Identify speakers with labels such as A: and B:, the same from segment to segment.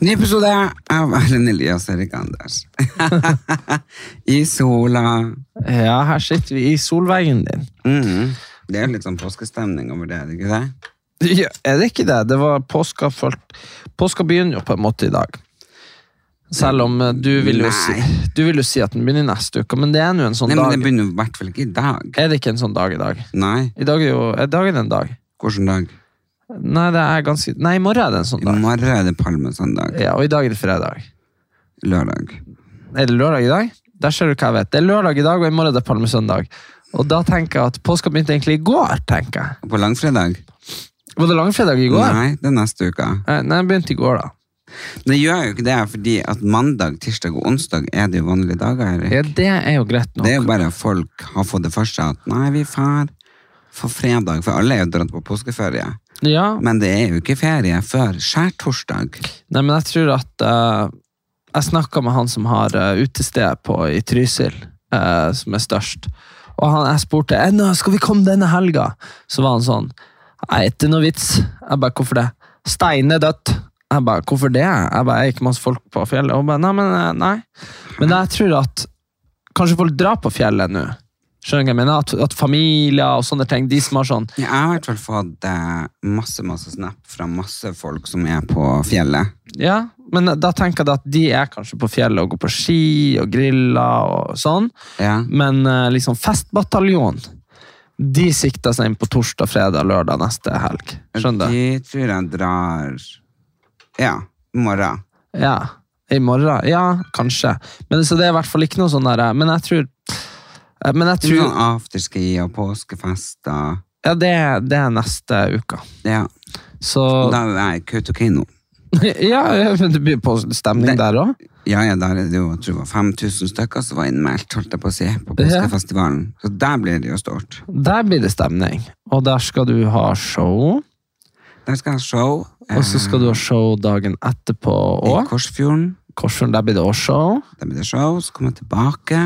A: Ny episode av Erlend Elias Erik Anders. I sola.
B: Ja, her sitter vi i solveggen din. Mhm.
A: Mm. Det er jo litt sånn påskestemning over det, er det ikke det?
B: Ja, er det ikke det? Det var påska fullt Påska begynner jo på en måte i dag. Selv om eh, du vil jo si,
A: Nei.
B: du vil jo si at den begynner neste uke, men det er nå en sånn
A: Nei, men
B: dag.
A: det begynner i hvert fall ikke i dag.
B: Er det ikke en sånn dag i dag?
A: Nei.
B: I dag er jo er dagen en dag.
A: Hvilken dag?
B: Nei, det er ganske Nei, i morgen er det en sånn
A: I
B: dag.
A: morgen er det palmesøndag.
B: Ja, Og i dag er det fredag.
A: Lørdag.
B: Er det lørdag i dag? Der ser du hva jeg vet. Det er lørdag i dag, og i morgen er det palmesøndag. Og da tenker jeg at påska begynte egentlig i går, tenker jeg.
A: Og på langfredag?
B: Var det langfredag i går?
A: Nei, det er neste uke.
B: Eh, Nei, den begynte i går, da.
A: Det gjør jo ikke det, fordi at mandag, tirsdag og onsdag er de vanlige dager, Erik.
B: Ja, det er jo greit nok.
A: Det er jo bare at folk har fått det for seg at nei, vi drar for fredag, for alle er jo dratt på påskeferie.
B: Ja,
A: Men det er jo ikke ferie før skjærtorsdag.
B: nei, men jeg tror at eh, Jeg snakka med han som har eh, utested på, i Trysil, eh, som er størst. Og han, jeg spurte «Eh, nå skal vi komme denne helga. Så var han sånn Nei, ikke noe vits. Jeg bare, hvorfor det? Stein er dødt. Jeg bare, hvorfor det? Jeg bare, er ikke masse folk på fjellet? Og hun bare, nei, men eh, nei. Men jeg tror at kanskje folk drar på fjellet nå. Skjønner du hva jeg mener? At, at familier og sånne ting, de som har sånn
A: Jeg har i hvert fall fått eh, masse, masse snap fra masse folk som er på fjellet.
B: Ja, men da tenker jeg at de er kanskje på fjellet og går på ski og griller og sånn.
A: Ja.
B: Men eh, liksom festbataljon, de sikter seg inn på torsdag, fredag, lørdag neste helg. Skjønner du?
A: De tror jeg drar Ja, i morgen.
B: Ja, i morgen. Ja, kanskje. Men så det er i hvert fall ikke noe sånn der, men jeg tror... eh, Men jeg
A: Det blir
B: tror...
A: Sånn afterski og påskefester.
B: Ja, det, er- det er neste uke.
A: Ja.
B: Så...
A: Da er jeg i Kautokeino.
B: Ja, ja, men det blir på stemning
A: Det-
B: der også.
A: Ja, ja, der er det jo jeg tror det var 5000 stykker som var innmeldt, holdt jeg på å si, på påskefestivalen. Så der blir det jo stort.
B: Der blir det stemning. Og der skal du ha show.
A: Der skal jeg ha show.
B: Og så skal
A: Eh.
B: du ha show dagen etterpå
A: I
B: òg.
A: Korsfjorden.
B: Korsfjorden, der blir det også show.
A: Der blir det show, så kommer jeg tilbake.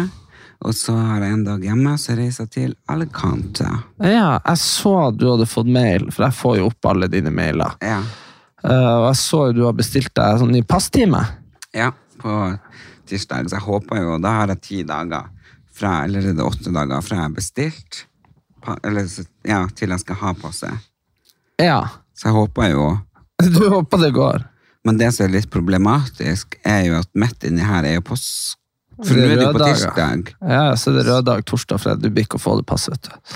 A: Og så har jeg en dag hjemme, så reiser jeg til Alicante.
B: Ja, jeg så du hadde fått mail, for jeg får jo opp alle dine mailer.
A: Ja.
B: Eh, Og jeg så jo du har bestilt deg sånn ny passtime.
A: ja, på tirsdag. Så jeg håper jo, da har jeg ti dager, fra, eller er det åtte dager, fra jeg har bestilt, pa- eller, så- ja, til jeg skal ha passet.
B: Ja.
A: Så jeg håper jo
B: Du håper det går.
A: Men det som er litt problematisk, er jo at midt inni her er jo på s- For nå
B: Det er
A: er det jo på
B: røde dager.
A: tirsdag.
B: Ja, så det er rød dag, torsdag, fredag. Du blir ikke å få det passet, vet du.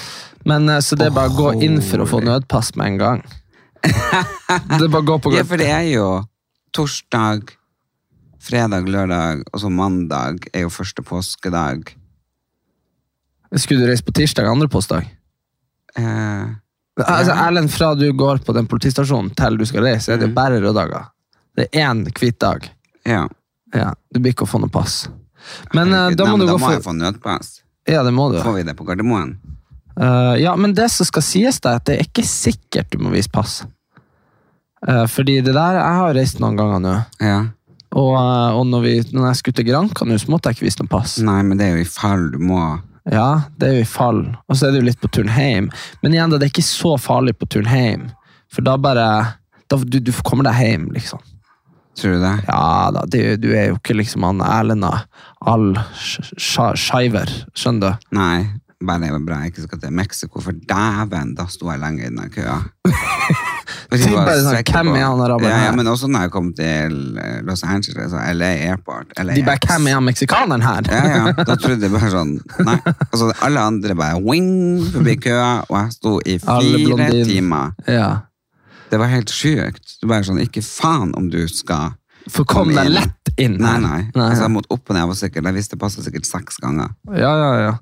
B: Men eh, så det er bare å gå inn for å få nødpass med en gang. Det er bare å gå på
A: Ja, for det er jo torsdag, fredag, lørdag, og så mandag er jo første påskedag.
B: Skulle du reise på tirsdag, andre postdag?
A: Eh,
B: Altså, Erlend, fra du går på den politistasjonen til du skal reise, er det bare røde dager. Det er én hvit dag.
A: ja.
B: Ja, du blir ikke å få noe pass. Men eh,
A: Herregud,
B: da
A: nei,
B: må
A: men
B: du
A: da
B: gå
A: må jeg
B: for
A: få nødpass.
B: Ja, det må du.
A: Får vi det på Gardermoen?
B: Eh, ja, men det som skal sies, det er at det er ikke sikkert du må vise pass. Eh, fordi det der Jeg har reist noen ganger nå,
A: Ja.
B: og, eh, og når, vi, når jeg skulle til Granca nå, så måtte jeg ikke vise noe pass.
A: Nei, men det er jo i fall du må
B: Ja, det er jo i fall. Og så er det jo litt på turen hjem. Men igjen, da, det er ikke så farlig på turen hjem, for da bare da, du, du kommer deg hjem, liksom.
A: Tror du det?
B: Ja da, du, du er jo ikke liksom han Erlend Al-Shiver, skjønner du?
A: Nei. Bare det var bra jeg ikke skal til Mexico, for dæven, da sto jeg lenge i den køa.
B: Tenk bare sånn,
A: strekker
B: hvem
A: på-
B: er han araberen
A: Ja, ja,
B: her?
A: men også når jeg kom til eh, Los Angeles og LA Airport. LAX.
B: De bare, hvem er han meksikaneren her?
A: Ja, ja. Da trodde jeg bare sånn Nei. Altså, alle andre bare wing forbi køa, og jeg sto i
B: Alle
A: fire
B: blondin.
A: timer.
B: Ja.
A: Det var helt sjukt. Du bare sånn Ikke faen om du skal
B: For kom
A: komme
B: deg
A: inn.
B: lett inn.
A: Nei,
B: her.
A: nei. Altså, jeg måtte opp og ned. Jeg var sikkert, jeg visste det passet sikkert seks ganger.
B: Ja, ja, ja.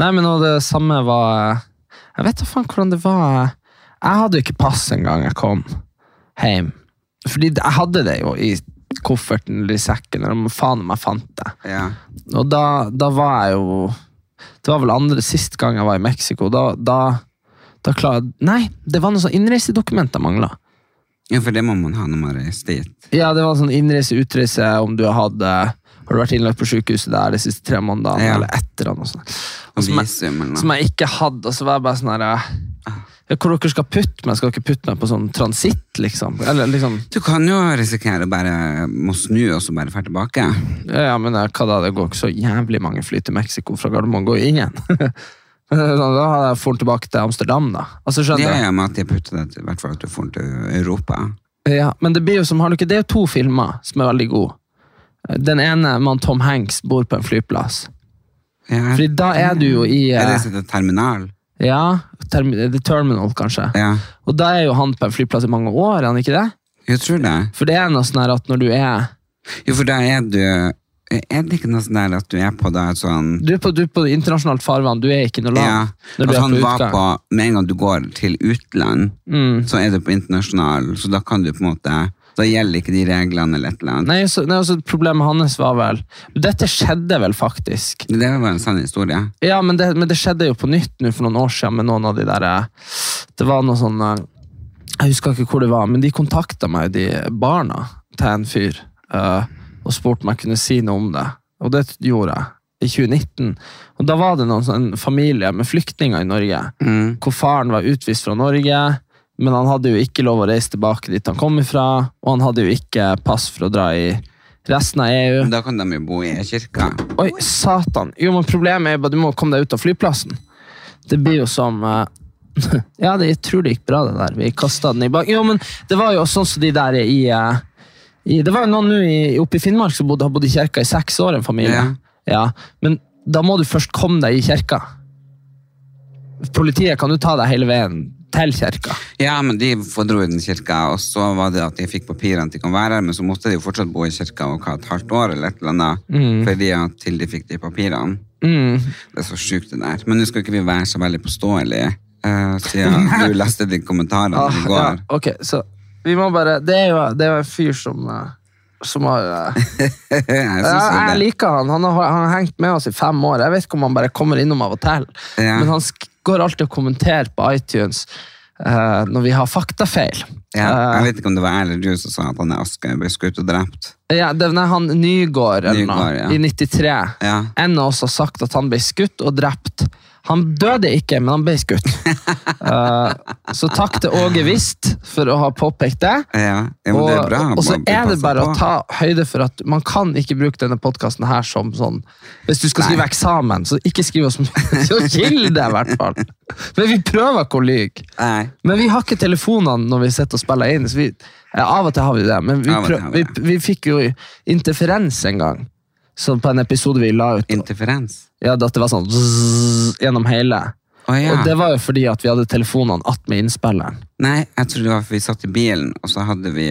B: Nei, men og det samme var eh, Jeg vet da faen hvordan det var. Jeg hadde jo ikke pass engang jeg kom hjem. Fordi jeg hadde det jo i kofferten eller i sekken, eller om faen om jeg fant det.
A: Ja.
B: Og da, da var jeg jo Det var vel andre sist gang jeg var i Mexico. Da, da, da klar, Nei, det var noe sånn innreisedokument jeg mangla.
A: ja, for det må man ha når man reiser dit.
B: Ja, det var sånn innreise, utreise, om du hadde Har du vært innlagt på sykehuset der de siste tre månedene,
A: Ja.
B: eller et eller annet sånt. Og
A: Og
B: som jeg-
A: visum eller
B: som
A: noe.
B: jeg ikke hadde. Og så var jeg bare sånn her ja, Hvor dere skal putte meg? Skal dere putte meg på sånn transitt, liksom? Eller liksom
A: Du kan jo risikere å bare må snu og så bare dra tilbake.
B: Ja, ja, men eh, hva da? Det går ikke så jævlig mange fly til Mexico fra Gardermoen. Går jo ingen. da hadde jeg fort tilbake til Amsterdam, da. Altså,
A: Det
B: skjønner
A: er
B: du?
A: jo med at de putter deg til hvert fall at du får til Europa.
B: Ja, men det blir jo som, har du ikke, det er jo to filmer som er veldig gode. Den ene med han Tom Hanks bor på en flyplass.
A: Ja,
B: Fordi da er du jo i
A: Jeg
B: eh,
A: reiser til terminal.
B: Ja, term The Terminal, kanskje.
A: Ja.
B: Og da er jo han på en flyplass i mange år, er han ikke det?
A: Jeg tror det.
B: For det er noe sånn her at når du er
A: Jo, for da er du Er det ikke noe sånn der at du er på da et sånn
B: Du er på, du er på internasjonalt farvann, du er ikke noe
A: Ja.
B: land. Når du
A: At
B: er
A: han
B: på
A: var
B: utgang.
A: på Med en gang du går til utland,
B: Mm.
A: så er du på internasjonal, så da kan du på en måte Da gjelder ikke de reglene eller et eller annet.
B: Nei, så, nei, altså, problemet hans var vel Dette skjedde vel faktisk.
A: Det var en sann historie.
B: Ja, men det, men det skjedde jo på nytt nå for noen år siden med noen av de der eh, Det var noe sånn eh, Jeg husker ikke hvor det var, men de kontakta meg, de barna, til en fyr. eh, og spurte om jeg kunne si noe om det. Og det gjorde jeg. I 2019. Og da var det noen sånn familie med flyktninger i Norge. Hvor faren var utvist fra Norge, men han hadde jo ikke lov å reise tilbake dit han kom ifra. Og han hadde jo ikke pass for å dra i resten av E EU.
A: Men Da kan de jo bo i kirka.
B: Oi, satan. Jo, men problemet er jo bare du må komme deg ut av flyplassen. Det blir jo som eh, Ja, det, jeg tror det gikk bra, det der. Vi kasta den i bak. Jo, men det var jo sånn som de der i, eh, i Det var jo noen nå i- oppe i Finnmark som bodde, har bodd i kirka i seks år, en familie.
A: Ja.
B: Ja, Men da må du først komme deg i kirka. Politiet kan jo ta deg hele veien til kirka.
A: Ja, men de fordro i den kirka, og så var det at de fikk papirene at de kan være her, men så måtte de jo fortsatt bo i kirka og hva, et halvt år eller et eller annet, fordi at til de fikk de papirene.
B: Mm.
A: Det er så sjukt det der. Men nå skal ikke vi være så veldig påståelige, eh, siden du leste de kommentarene
B: Ah,
A: i
B: ja,
A: går.
B: ok, så vi må bare Det er jo, det er jo en fyr som, eh, som har eh,
A: jeg synes
B: Ja,
A: jo
B: jeg
A: det.
B: liker han. Han har, han har hengt med oss i fem år. Jeg vet ikke om han bare kommer innom av og til.
A: Ja.
B: Men han sk- går alltid og kommenterer på iTunes eh, når vi har faktafeil.
A: Ja,
B: Eh,
A: jeg vet ikke om det var jeg eller du som sa at han i Askøy ble skutt og drept.
B: ja, det er han Nygård, eller noe,
A: Nygård, ja.
B: i 93.
A: Ja.
B: En av oss har sagt at han ble skutt og drept. Han døde ikke, men han ble skutt. Eh, så takk til Åge Wist for å ha påpekt det.
A: Ja, ja men
B: Og,
A: det er bra.
B: og så
A: man blir
B: er det
A: passet
B: bare
A: på.
B: å ta høyde for at man kan ikke bruke denne podkasten her som sånn Hvis du skal skrive eksamen, så ikke skriv oss Så skill deg, i hvert fall! Men vi prøver ikke å lyge.
A: Nei.
B: Men vi har ikke telefonene når vi sitter og spiller inn. Så vi, ja, av og til har vi det, men vi,
A: Av og til
B: prøv,
A: har
B: vi,
A: vi det.
B: vi fikk jo interferens en gang. Sånn på en episode vi la ut.
A: Interferens.
B: Ja, at det var sånn zzz, gjennom hele.
A: Å ja.
B: Og det var jo fordi at vi hadde telefonene attmed innspilleren.
A: Nei, jeg tror det var for vi satt i bilen, og så hadde vi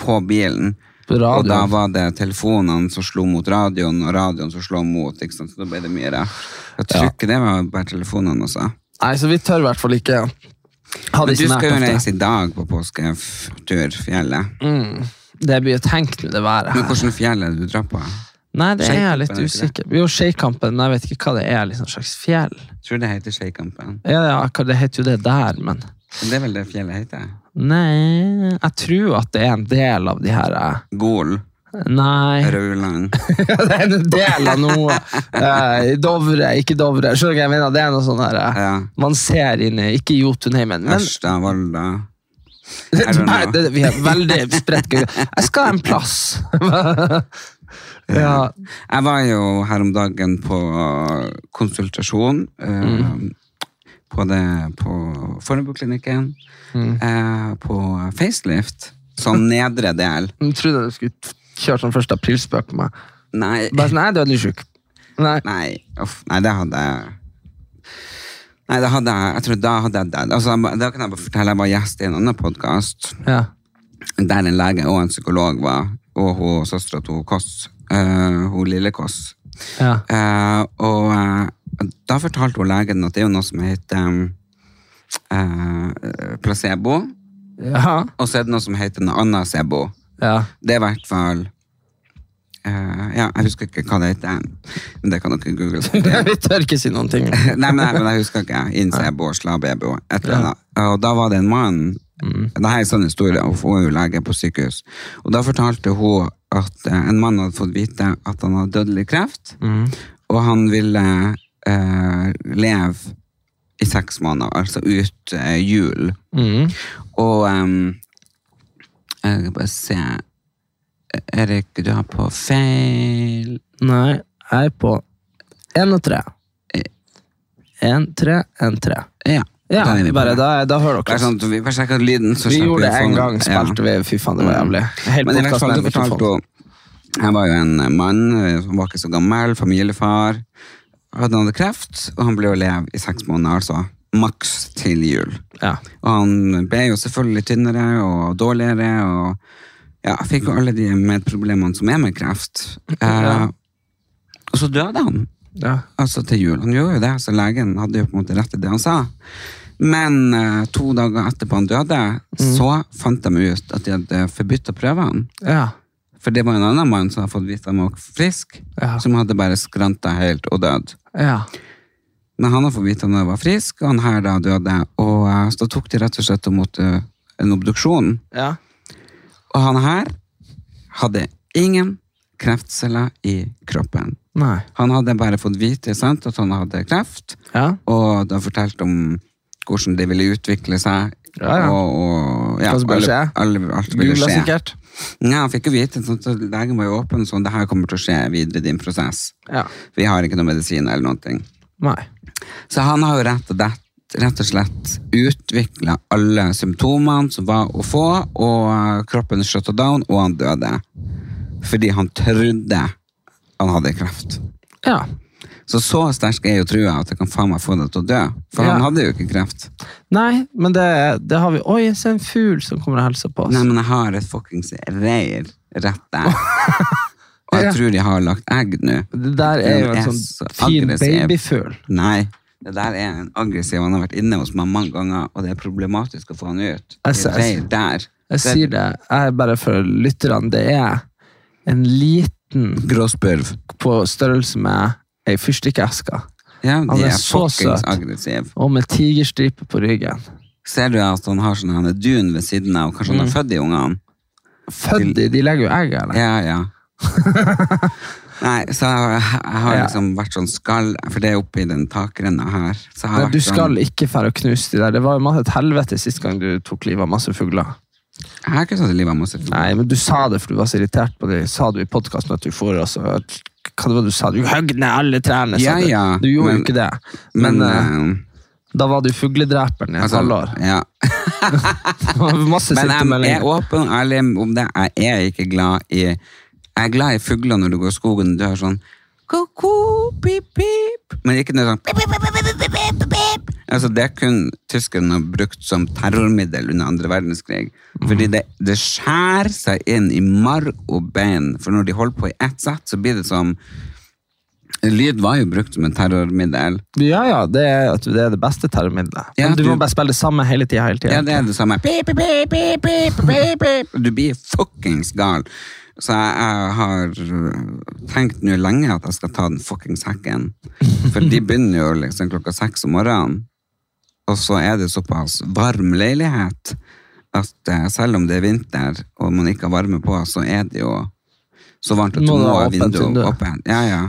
A: på bilen.
B: På
A: Og da
B: radioen.
A: var det telefonene som slo mot radioen, og radioen som slo mot. ikke sant? Så da ble det mye rart. Jeg tror ikke det var bare telefonene også.
B: Nei, så vi tør i hvert fall ikke ha
A: Men
B: det
A: du
B: så nært
A: skal jo
B: ofte.
A: reise i dag på påsketur, fjellet.
B: Mm. Det blir jo tenkt nå, det været
A: Men
B: her.
A: hvordan fjell er det du drar på? Jeg
B: Nei, det er jeg
A: Skeikampen, er det
B: litt
A: ikke
B: usikker Jo, Skeikampen, men jeg vet ikke hva det er. liksom slags fjell.
A: tror det heter Skeikampen.
B: Ja, ja, hva det heter jo det der, men
A: Det er vel det fjellet heter?
B: Nei Jeg tror at det er en del av de her eh,
A: Gol.
B: Nei,
A: Rauland.
B: det er en del av noe. eh, Dovre, ikke Dovre. Skjønner du hva jeg mener? Det er noe sånn her eh,
A: Ja.
B: Man ser inn i Ikke Jotunheimen, men
A: Ørsta, Volda. I don't
B: Nei,
A: know.
B: det, vi er veldig spredt. geografi. Jeg skal en plass. ja, Mm.
A: Jeg var jo her om dagen på konsultasjon. eh, på, det, på Fornebuklinikken,
B: Mm.
A: eh, på facelift, sånn nedre del.
B: Jeg trodde du skulle kjøre sånn første aprilspøk på meg.
A: Nei,
B: Bare sånn, nei, du er litt sjuk. Nei.
A: nei, uff, nei, det hadde jeg... Nei, da hadde jeg, jeg tror da hadde jeg dødd. Altså, da kan jeg bare fortelle, jeg var gjest i en annen podcast,
B: Ja.
A: der en lege og en psykolog var, og hun søstera til hun Koss, eh, hun lille Koss.
B: Ja.
A: Eh, og eh, da fortalte hun legen at det er jo noe som heter um, eh, placebo,
B: Ja.
A: og så er det noe som heter noe annet sebo.
B: ja.
A: Det er i hvert fall eh, Ja, jeg husker ikke hva det heter, men det kan dere google.
B: Vi tør ikke si noen ting.
A: Nei, men, jeg- men jeg husker ikke. Innsebo, slabebo, et eller annet. Og da var det en mann
B: Mm.
A: Dette er en sånn historie, og hun er jo lege på sykehus. Og da fortalte hun at eh, en mann hadde fått vite at han hadde dødelig kreft,
B: Mm.
A: og han ville eh, leve i seks måneder, altså ut eh, jul.
B: Mm.
A: Og ehm, Jeg skal bare se Erik, du har på feil
B: Nei, jeg er på én og tre. Én, tre, én, tre.
A: Ja,
B: Ja,
A: da er vi på
B: bare
A: det.
B: da, da hører
A: Bare
B: dere.
A: sånn, at vi bare sjekker lyden, så
B: Vi
A: slipper
B: gjorde sånn- Mm. det
A: å få
B: en
A: noe-
B: gang, spilte vi, fy faen, det var jævlig. Hele
A: Men i hvert
B: podcasten
A: fall,
B: er
A: du
B: mikrofon.
A: fortalte jo Jeg var jo en mann eh, som var ikke så gammel, familiefar. Hadde han hadde kreft, og han ble jo leve i seks måneder, altså. Maks til jul.
B: Ja.
A: Og han ble jo selvfølgelig tynnere og dårligere, og ja, fikk jo alle de medproblemene som er med kreft. Eh, Og så døde han
B: Ja.
A: altså til jul. Han gjorde jo det, så legen hadde jo på en måte rett i det han sa. Men eh, to dager etterpå han døde, så fant de ut at de hadde forbudt å prøve han.
B: Ja.
A: For det var en annen mann som hadde fått vite at han var frisk,
B: Ja.
A: som hadde bare skranta helt og dødd.
B: ja.
A: Men han hadde fått vite at han var frisk, og han her da døde. Og eh, så da tok de rett og slett imot eh, en obduksjon.
B: ja.
A: Og han her hadde ingen kreftceller i kroppen.
B: Nei.
A: Han hadde bare fått vite sant, at han hadde kreft,
B: Ja.
A: og da fortalte om hvordan det ville utvikle seg.
B: Ja, ja.
A: Og, og ja,
B: Hva som ville skje.
A: alle, alt ville
B: Googla
A: skje.
B: sikkert.
A: Ja, han fikk jo vite, sånn, så legen var jo åpen, sånn, det her kommer til å skje videre i din prosess.
B: Ja.
A: Vi har ikke noe medisin eller noen ting.
B: Nei.
A: Så han har jo rett og, det, rett og slett utvikla alle symptomene som var å få, og eh, kroppen shutta down, og han døde. Fordi han trodde han hadde kreft.
B: Ja.
A: Så så sterk er jo trua at jeg kan faen meg få deg til å dø. For
B: Ja.
A: han hadde jo ikke kreft.
B: Nei, men det, det har vi Oi, se en fugl som kommer og hilser på oss.
A: Nei, men jeg har et fuckings reir rett der. Og jeg
B: Ja.
A: tror de har lagt egg nå.
B: det der er jo
A: Den
B: en
A: så
B: sånn fin
A: aggressiv.
B: babyfugl.
A: Nei, det der er en aggressiv. Han har vært inne hos meg mange ganger, og det er problematisk å få han ut.
B: Jeg ser-
A: Det er der.
B: Jeg sier det, jeg er bare for lytterne. Det er en liten
A: Gråspurv.
B: på størrelse med ei fyrstikkeske.
A: Ja,
B: Han
A: de
B: er
A: er
B: så
A: fuckings
B: søt.
A: aggressive.
B: Og med tigerstripe på ryggen.
A: Ser du at han har sånn henne dun ved siden av, og kanskje
B: Mm.
A: han har født de ungene?
B: Født i De legger jo egg, eller?
A: Ja, ja. Nei, så jeg jeg har
B: Ja.
A: liksom vært sånn skall, for det er oppi den takrenna her. Så jeg har
B: Nei,
A: vært
B: du
A: sånn-
B: skal ikke fære og knuse de der. Det var jo masse et helvete sist gang du tok livet av masse fugler.
A: Jeg har ikke tatt livet av masse fugler.
B: Nei, men du sa det for du var så irritert på det. Sa du i podkasten at du får altså Hva det var du sa? Du høgg ned alle trærne,
A: Ja,
B: sa
A: ja,
B: du. Du gjorde
A: men-
B: jo ikke det. Men,
A: Men,
B: eh, da var du fugledreperen i
A: eh,
B: et
A: altså,
B: halvår.
A: ja.
B: Det var Masse
A: Men E
B: sinte
A: jeg er
B: meldinger.
A: åpen og ærlig om det. Jeg er ikke glad i Jeg er glad i fugler når du går i skogen. Du hører sånn Ko-ko, pip-pip. Men ikke noe sånn pip, pip, pip, pip, pip, pip, pip. Altså, Det kun tyskerne har brukt som terrormiddel under andre verdenskrig.
B: Mhm.
A: Fordi det, det skjærer seg inn i marg og bein. For når de holder på i ett sett, så blir det som Lyd var jo brukt som et terrormiddel.
B: Ja, ja, det er, at det er det beste terrormiddelet.
A: Ja,
B: Men du,
A: du-
B: må bare spille det samme hele tida. Hele tiden.
A: Ja, det er det samme. Pip, pip, pip, pip, pip, pip, pip. Du blir fuckings gal. Så jeg, jeg har øh, tenkt nå lenge at jeg skal ta den fuckings hekken. For de begynner jo liksom klokka seks om morgenen. Og så er det såpass varm leilighet at eh, selv om det er vinter og man ikke har varme på, så er det jo så varmt at du
B: Må
A: må
B: du ha
A: ha
B: åpent
A: vinduet
B: vindu.
A: åpent. Ja, ja.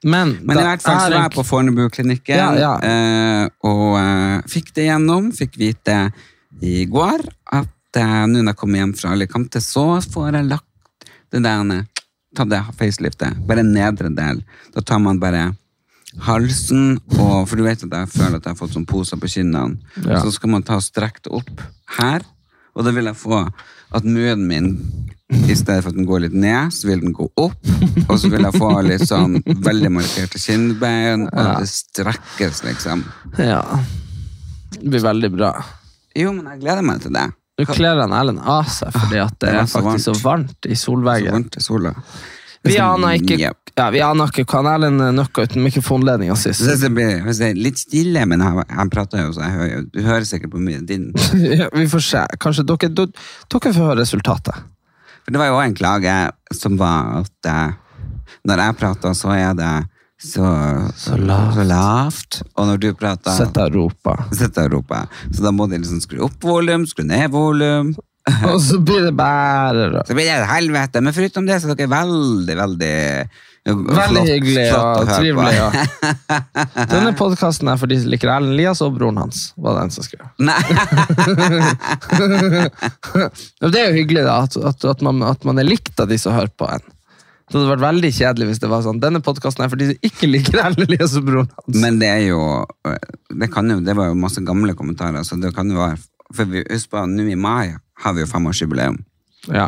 B: Men,
A: Men
B: da
A: i hvert fall så var
B: er en-
A: jeg på Fornebu-klinikken
B: Ja, ja.
A: eh, og eh, fikk det gjennom. Fikk vite i går at eh, nå når jeg kommer hjem fra Alicante, så får jeg lagt det der ned. Ta det faceliftet. Bare nedre del. Da tar man bare halsen, og, for du vet at jeg føler at jeg har fått sånn poser på kinnene.
B: Ja.
A: Så skal man ta strekt opp her, og da vil jeg få at møden min, i stedet for at den går litt ned, så vil den gå opp, og så vil jeg få litt sånn veldig markerte kinnbein, og at det strekkes liksom.
B: Ja. Det blir veldig bra.
A: Jo, men jeg gleder meg til det.
B: Nå kler han Erlend av seg fordi at det
A: det var
B: er
A: så
B: faktisk så
A: varmt.
B: varmt i
A: Så
B: solveggen.
A: varmt i sola.
B: Vi aner ikke
A: Yep.
B: ja, vi aner ikke hva han Erlend nøkka uten mikrofonledninga
A: Så
B: sist.
A: synes jeg det blir hvis det er litt stille, men jeg, jeg prater jo, så jeg hører, jo- du hører sikkert på mye din.
B: Ja, Vi får se. Kanskje dere, dere- dere får høre resultatet.
A: For det var jo også en klage som var at eh, når jeg prater, så er det så,
B: Så lavt.
A: så lavt, og når du prater,
B: Sitter og roper.
A: sitter jeg og roper. Så da må de liksom skru opp volum, skru ned volum.
B: Og så blir det bare rødt.
A: Så blir det et helvete, men foruten det så er dere veldig, veldig
B: Veldig hyggelig
A: å
B: og
A: høre på.
B: trivelig. Ja. Denne podkasten er for de som liker Erlend Elias og broren hans. var den som skrev.
A: Nei,
B: Ja, Det er jo hyggelig da, at, at, at, man, at man er likt av de som hører på en. Det hadde vært veldig kjedelig hvis det var sånn. Denne podkasten er for de som ikke liker Erlend Elias og broren hans.
A: men det er jo, eh, det, kan jo det var jo masse gamle kommentarer, så det kan jo være, for vi husk på, nå i mai har vi jo femårsjubileum.
B: Ja.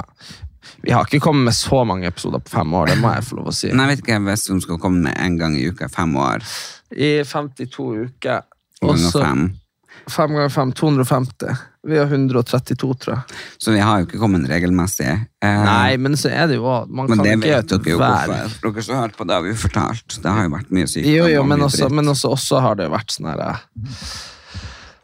B: Vi har ikke kommet med så mange episoder på fem år, det må jeg få lov å si.
A: Nei, jeg vet ikke hvis de skal komme med en gang i uka, fem år.
B: I 52 uker. Og
A: ganger
B: så
A: fem.
B: fem ganger fem, 250. Vi har 132, tror jeg.
A: Så vi har jo ikke kommet regelmessig. Eh,
B: Nei, men så er det jo også- Man
A: men
B: kan
A: det
B: ikke
A: vet dere jo
B: hver-
A: hvorfor. For Dere som hørte på, det har vi jo fortalt. Det har jo vært mye sykdom.
B: Jo, jo,
A: og
B: men
A: mye
B: også,
A: dritt.
B: men også, også har det jo vært sånn her eh.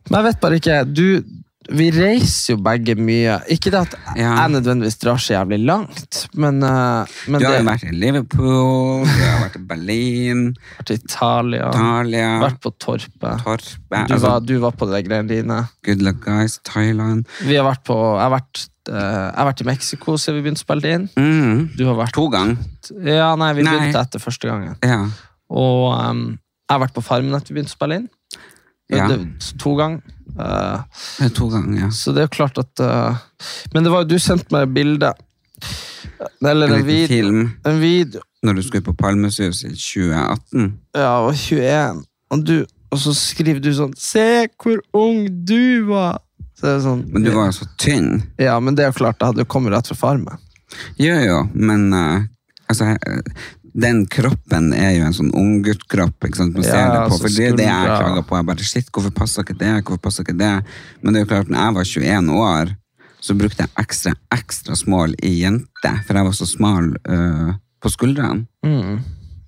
B: Men jeg vet bare ikke du, Vi reiser jo begge mye. Ikke det at
A: Ja.
B: jeg nødvendigvis drar så jævlig langt, men, eh, men
A: Du har jo
B: det
A: vært i Liverpool, du har vært i Berlin,
B: har vært i Italia,
A: Italia,
B: vært på Torpet.
A: Torpet
B: Du
A: altså,
B: var, du var på de greiene dine.
A: Good luck guys, Thailand.
B: Vi har vært på, jeg, har vært, eh, jeg har vært i Mexico siden vi begynte å spille det inn.
A: Mm.
B: Du har vært
A: To ganger.
B: Ja, nei, vi
A: Nei.
B: begynte etter første gangen.
A: Ja.
B: Og ehm, jeg har vært på Farmen etter vi begynte å spille inn.
A: Ja.
B: Det- To ganger. Eh,
A: det er To ganger, ja.
B: Så det er jo klart at eh, Men det var jo du sendte meg et bilde. Eller
A: En
B: en
A: liten
B: video.
A: film
B: En video
A: når du skulle på Palmesus i 2018.
B: ja, og 21, og, du, og så skriver du sånn 'Se hvor ung du var'. Så det er sånn,
A: Men du var jo så tynn.
B: Ja, men det er jo klart, det hadde jo kommet rett fra Farmen.
A: Jo, jo, men eh, altså, eh, den kroppen er jo en sånn ungguttkropp. ikke sant? Man ser
B: Ja,
A: det på,
B: altså,
A: for det er jo det jeg
B: skuldra.
A: klager på. Jeg bare, shit, Hvorfor passer ikke det? Hvorfor passer ikke det? Men det er jo klart, når jeg var 21 år, så brukte jeg ekstra ekstra smål i jente, for jeg var så smal eh, på skuldrene.
B: Mm,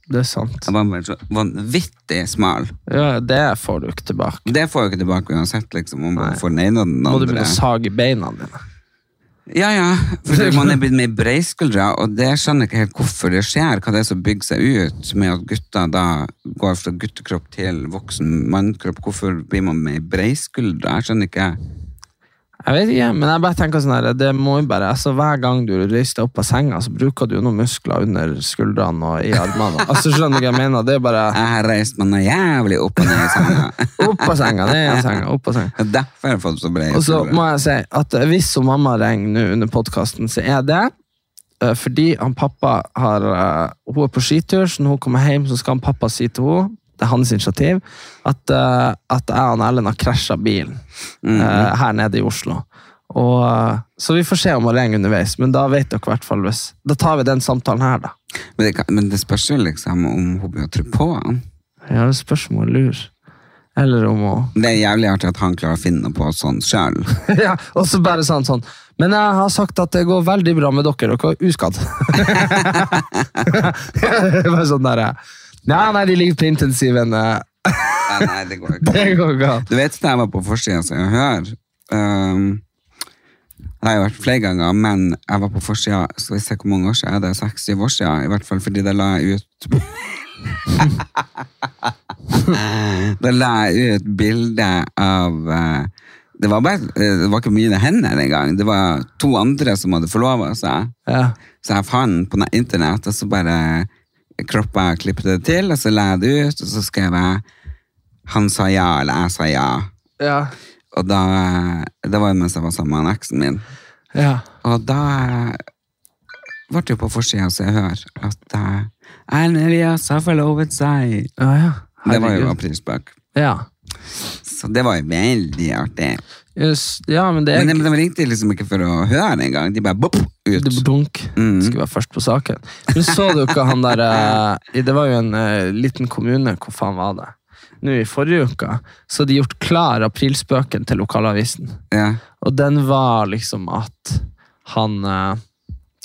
B: det er sant.
A: Jeg var bare så vanvittig smal.
B: Ja, det får du ikke tilbake.
A: Det får jeg ikke tilbake uansett, liksom. Man bare får den ene og den
B: Må du
A: andre.
B: begynne å sage beina dine.
A: Ja, ja. For man er blitt mer breiskuldra, og det skjønner jeg ikke helt hvorfor det skjer. Hva det er som bygger seg ut med at gutter da går fra guttekropp til voksen mannkropp. Hvorfor blir man mer breiskuldra? Jeg skjønner ikke.
B: Jeg vet ikke, men jeg bare tenker sånn her, det må jo bare, altså Hver gang du reiser deg opp av senga, så bruker du jo noen muskler under skuldrene og i armene. Altså, Skjønner du hva jeg mener? Det er bare
A: Jeg har reist meg noe jævlig opp og ned i senga.
B: opp av senga, ned av senga, opp av senga.
A: Derfor har jeg fått så
B: Og så må
A: breiskuldra.
B: jeg si at hvis hun mamma ringer nå under podkasten, så er det eh, fordi han pappa har eh, Hun er på skitur, så når hun kommer hjem, så skal han pappa si til henne det er hans initiativ, at, eh, at jeg og Erlend har krasja bilen eh, her nede i Oslo. Og, eh, så vi får se om hun ringer underveis, men da vet dere i hvert fall hvis. Da tar vi den samtalen her, da.
A: Men, det kan- men det spørs jo liksom om hun begynner å tro på han.
B: Ja, det spørs om hun lurer. Eller om hun
A: Det er jævlig artig at han klarer å finne noe på sånn sjøl.
B: ja, og så bare sa han sånn Men jeg har sagt at det går veldig bra med dere, dere er uskadd. bare sånn der Nei, nei, de ligger på intensiven. eh,
A: Nei, nei, det går ikke.
B: Det går galt.
A: Du vet da jeg var på forsiden som jeg hører um, Det har jeg vært flere ganger, men jeg var på forsida Skal vi se hvor mange år siden er det? Seks-syv år siden, i hvert fall fordi da la jeg ut Da la jeg ut bilde av eh, det var, bare, eh, det var ikke mine hender engang. Det var to andre som hadde forlova seg.
B: Ja.
A: Så jeg fant på ne- internett, og så bare kroppa jeg og klippet det til, og så la jeg det ut, og så skrev jeg 'han sa ja', eller 'jeg sa ja'.
B: Ja.
A: Og da Det var jo mens jeg var sammen med eksen min.
B: ja.
A: Og da ble det jo på forsida, så jeg hører, at eh, Erlend Elias har forlovet seg.
B: Ja, ja.
A: Det var jo
B: Herregud.
A: aprilspøk.
B: ja.
A: Så det var jo veldig artig.
B: Yes, ja, men det er
A: Men de, de ringte liksom ikke for å høre engang. De bare bopp, ut.
B: Det Dunk.
A: Mm.
B: Skulle være først på saken. Men så du ikke han der eh, Det var jo en eh, liten kommune, hvor faen var det? Nå i forrige uke så hadde de gjort klar aprilspøken til lokalavisen.
A: Ja.
B: Og den var liksom at han eh,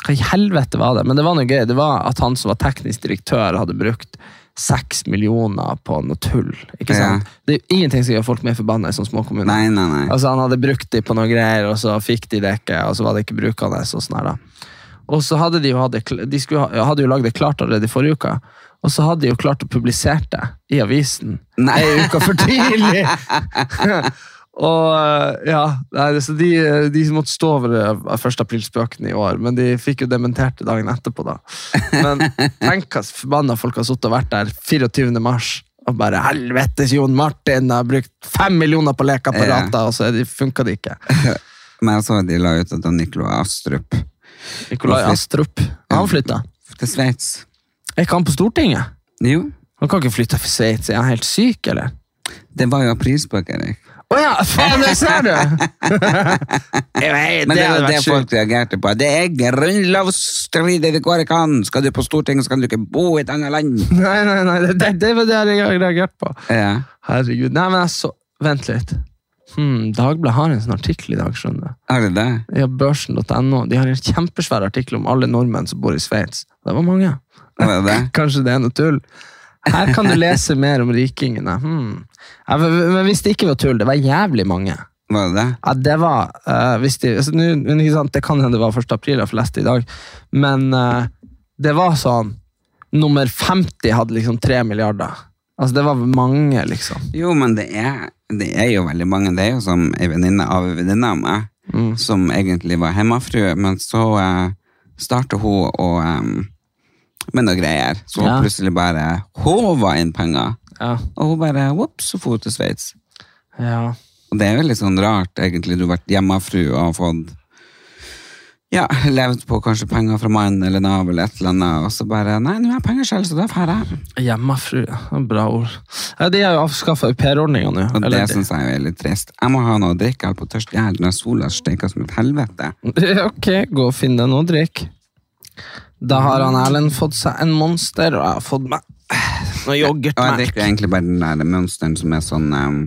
B: Hva i helvete var det? Men det var noe gøy. Det var at han som var teknisk direktør, hadde brukt seks millioner på noe tull. Ikke
A: Ja.
B: sant? Det er jo ingenting som gjør folk mer forbanna i sånne små kommuner.
A: Nei, nei, nei.
B: Altså Han hadde brukt de på noen greier, og så fikk de det ikke, og så var det ikke brukende. Og sånn her da. Og så hadde de jo, hatt det kl- de skulle, ha- hadde jo lagd det klart allerede i forrige uke, og så hadde de jo klart å publisere det i avisen
A: Nei.
B: ei uke for tidlig. og eh, ja, nei, så de, de måtte stå over eh, 1. april-spøken i år, men de fikk jo dementert det dagen etterpå. da. Men tenk hva forbanna folk har sittet og vært der 24. mars. Og bare 'helvetes Jon Martin, jeg har brukt fem millioner på lekeapparater', og så er det- funka det ikke.
A: Men jeg så at de la ut at han Nikolai Astrup
B: Nikolai Astrup, han flytta.
A: til Sveits.
B: Er ikke han på Stortinget?
A: Jo,
B: Han kan ikke flytte til Sveits, er han helt syk, eller?
A: det var jo aprilspøk, Erik.
B: Å ja, faen, det ser du! Jeg vet,
A: Men det, er
B: hadde
A: jo det
B: vært sjukt.
A: folk reagerte på. Det er grunnlovsstrid, det går ikke an! Skal du på Stortinget, skal du ikke bo i et annet land!
B: Nei, nei, nei, det, det, det var det jeg reag- reagerte på.
A: Ja.
B: Herregud. Nei, men jeg så Vent litt. Hmm, Dagbladet har en sånn artikkel i dag, skjønner du.
A: Har du det?
B: Ja, Børsen.no. De har en kjempesvær artikkel om alle nordmenn som bor i Sveits. Det var mange.
A: Var det det?
B: Kanskje det er noe tull. Her kan du lese mer om rikingene. Hmm. Ja, men, men hvis det ikke var tull, det var jævlig mange.
A: Var det det?
B: Ja, det var eh, hvis de, altså, nu, men ikke sant, Det kan hende det var 1. april, jeg får lest det i dag. Men eh, det var sånn Nummer 50 hadde liksom 3 milliarder. Altså, det var mange, liksom.
A: Jo, men det er, det er jo veldig mange. Det er jo som ei venninne av en venninne av meg,
B: Mm.
A: som egentlig var hjemmefrue, men så uh, starta hun å eh, med noe greier. Så hun
B: Ja.
A: plutselig bare håva inn penger.
B: Ja.
A: Og hun bare Ops, så for hun til Sveits.
B: ja.
A: Og det er jo litt sånn rart, egentlig. Du har vært hjemmefrue og har fått ja, levd på kanskje penger fra mannen eller Nav eller et eller annet, og så bare Nei, nå har jeg penger selv, så da drar jeg.
B: Hjemmefrue. Bra ord. Ja, de har jo avskaffa aupairordninga nå.
A: Og
B: eller
A: det
B: de-
A: syns jeg er litt trist. Jeg må ha noe å drikke, jeg holder på å tørste i hjel når sola steker som et helvete.
B: Ok, gå og finn deg noe å drikke. Da har han Erlend fått seg en monster, og jeg har fått meg noe
A: Og jeg
B: yoghurtmelk.
A: drikker egentlig bare den der mønsteren som er sånn ehm,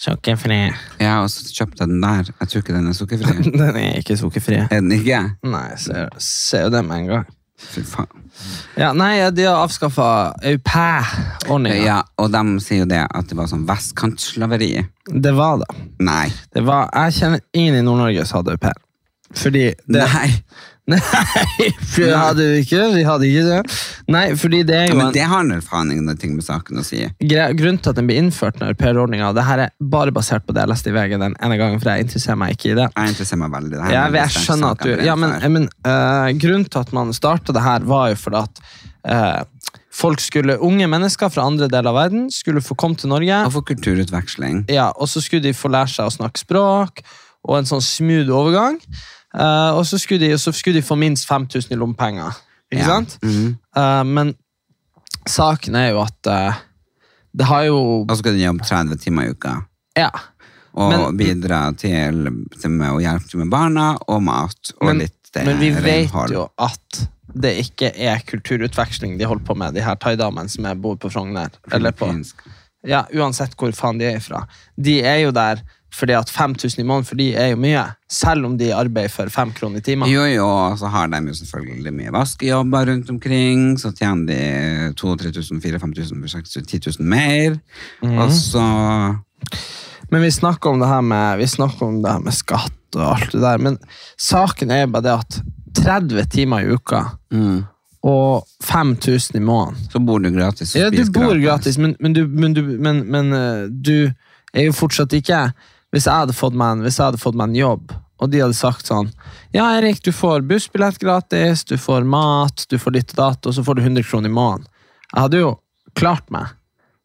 B: Sukkerfri.
A: Ja, og så kjøpte jeg den der. Jeg tror ikke den er sukkerfri.
B: Den er ikke sukkerfri.
A: Er den ikke?
B: Nei, ser, ser jo det med en gang.
A: Fy faen.
B: Ja, nei, de har avskaffa au pair-ordninga.
A: Ja, og de sier jo det at det var sånn vestkantslaveri.
B: Det var det.
A: Nei.
B: det var, jeg kjenner ingen i Nord-Norge som hadde au pair. Fordi det,
A: Nei.
B: Nei, for vi hadde vi ikke. Vi hadde ikke det. Nei, fordi det er jo
A: Men
B: en
A: det har nå faen ingenting med saken å si.
B: gre- Grunnen til at den ble innført, den aupairordninga, det her er bare basert på det jeg leste i VG den ene gangen, for jeg interesserer meg ikke i det.
A: Jeg interesserer meg veldig. i det her,
B: Jeg,
A: men
B: jeg
A: det er ikke
B: skjønner at
A: saken
B: du ja, men,
A: brenner for.
B: men, eh, Grunnen til at man starta det her, var jo fordi at eh, folk skulle, unge mennesker fra andre deler av verden skulle få komme til Norge.
A: Og for kulturutveksling.
B: Ja, og så skulle de få lære seg å snakke språk, og en sånn smooth overgang. Eh, og så skulle, de, og så skulle de få minst 5000 i lommepenger. Ikke
A: Ja.
B: sant?
A: Mhm.
B: Eh, men saken er jo at eh, det har jo
A: Og så skal du jobbe 30 timer i uka.
B: Ja.
A: Og
B: Men-
A: bidra til, til med å hjelpe til med barna og mat og
B: Men,
A: litt eh,
B: men vi vet
A: renhold.
B: jo at det ikke er kulturutveksling de holder på med, de her thaidamene som er- bor på Frogner. Eller på,
A: Filippinsk.
B: ja, uansett hvor faen de er fra. De er jo der fordi at 5000 i måneden for de er jo mye, selv om de arbeider for fem kroner i timen.
A: Jo, jo, og så har de jo selvfølgelig mye vaskejobber rundt omkring, så tjener de 2-3 000, 4-5 000, 6 10 000 mer,
B: Mhm.
A: og så...
B: Men vi snakker om det her med, vi snakker om det her med skatt og alt det der, men saken er jo bare det at 30 timer i uka Mm. og 5000 i måneden
A: Så bor du gratis og
B: Ja, du
A: spiser
B: bor gratis, men, men, du, men, du, men, men eh, du er jo fortsatt ikke Hvis jeg hadde fått meg en, hvis jeg hadde fått meg en jobb, og de hadde sagt sånn Ja, Erik, du får bussbillett gratis, du får mat, du får ditt og datt, og så får du 100 kroner i måneden. Jeg hadde jo klart meg,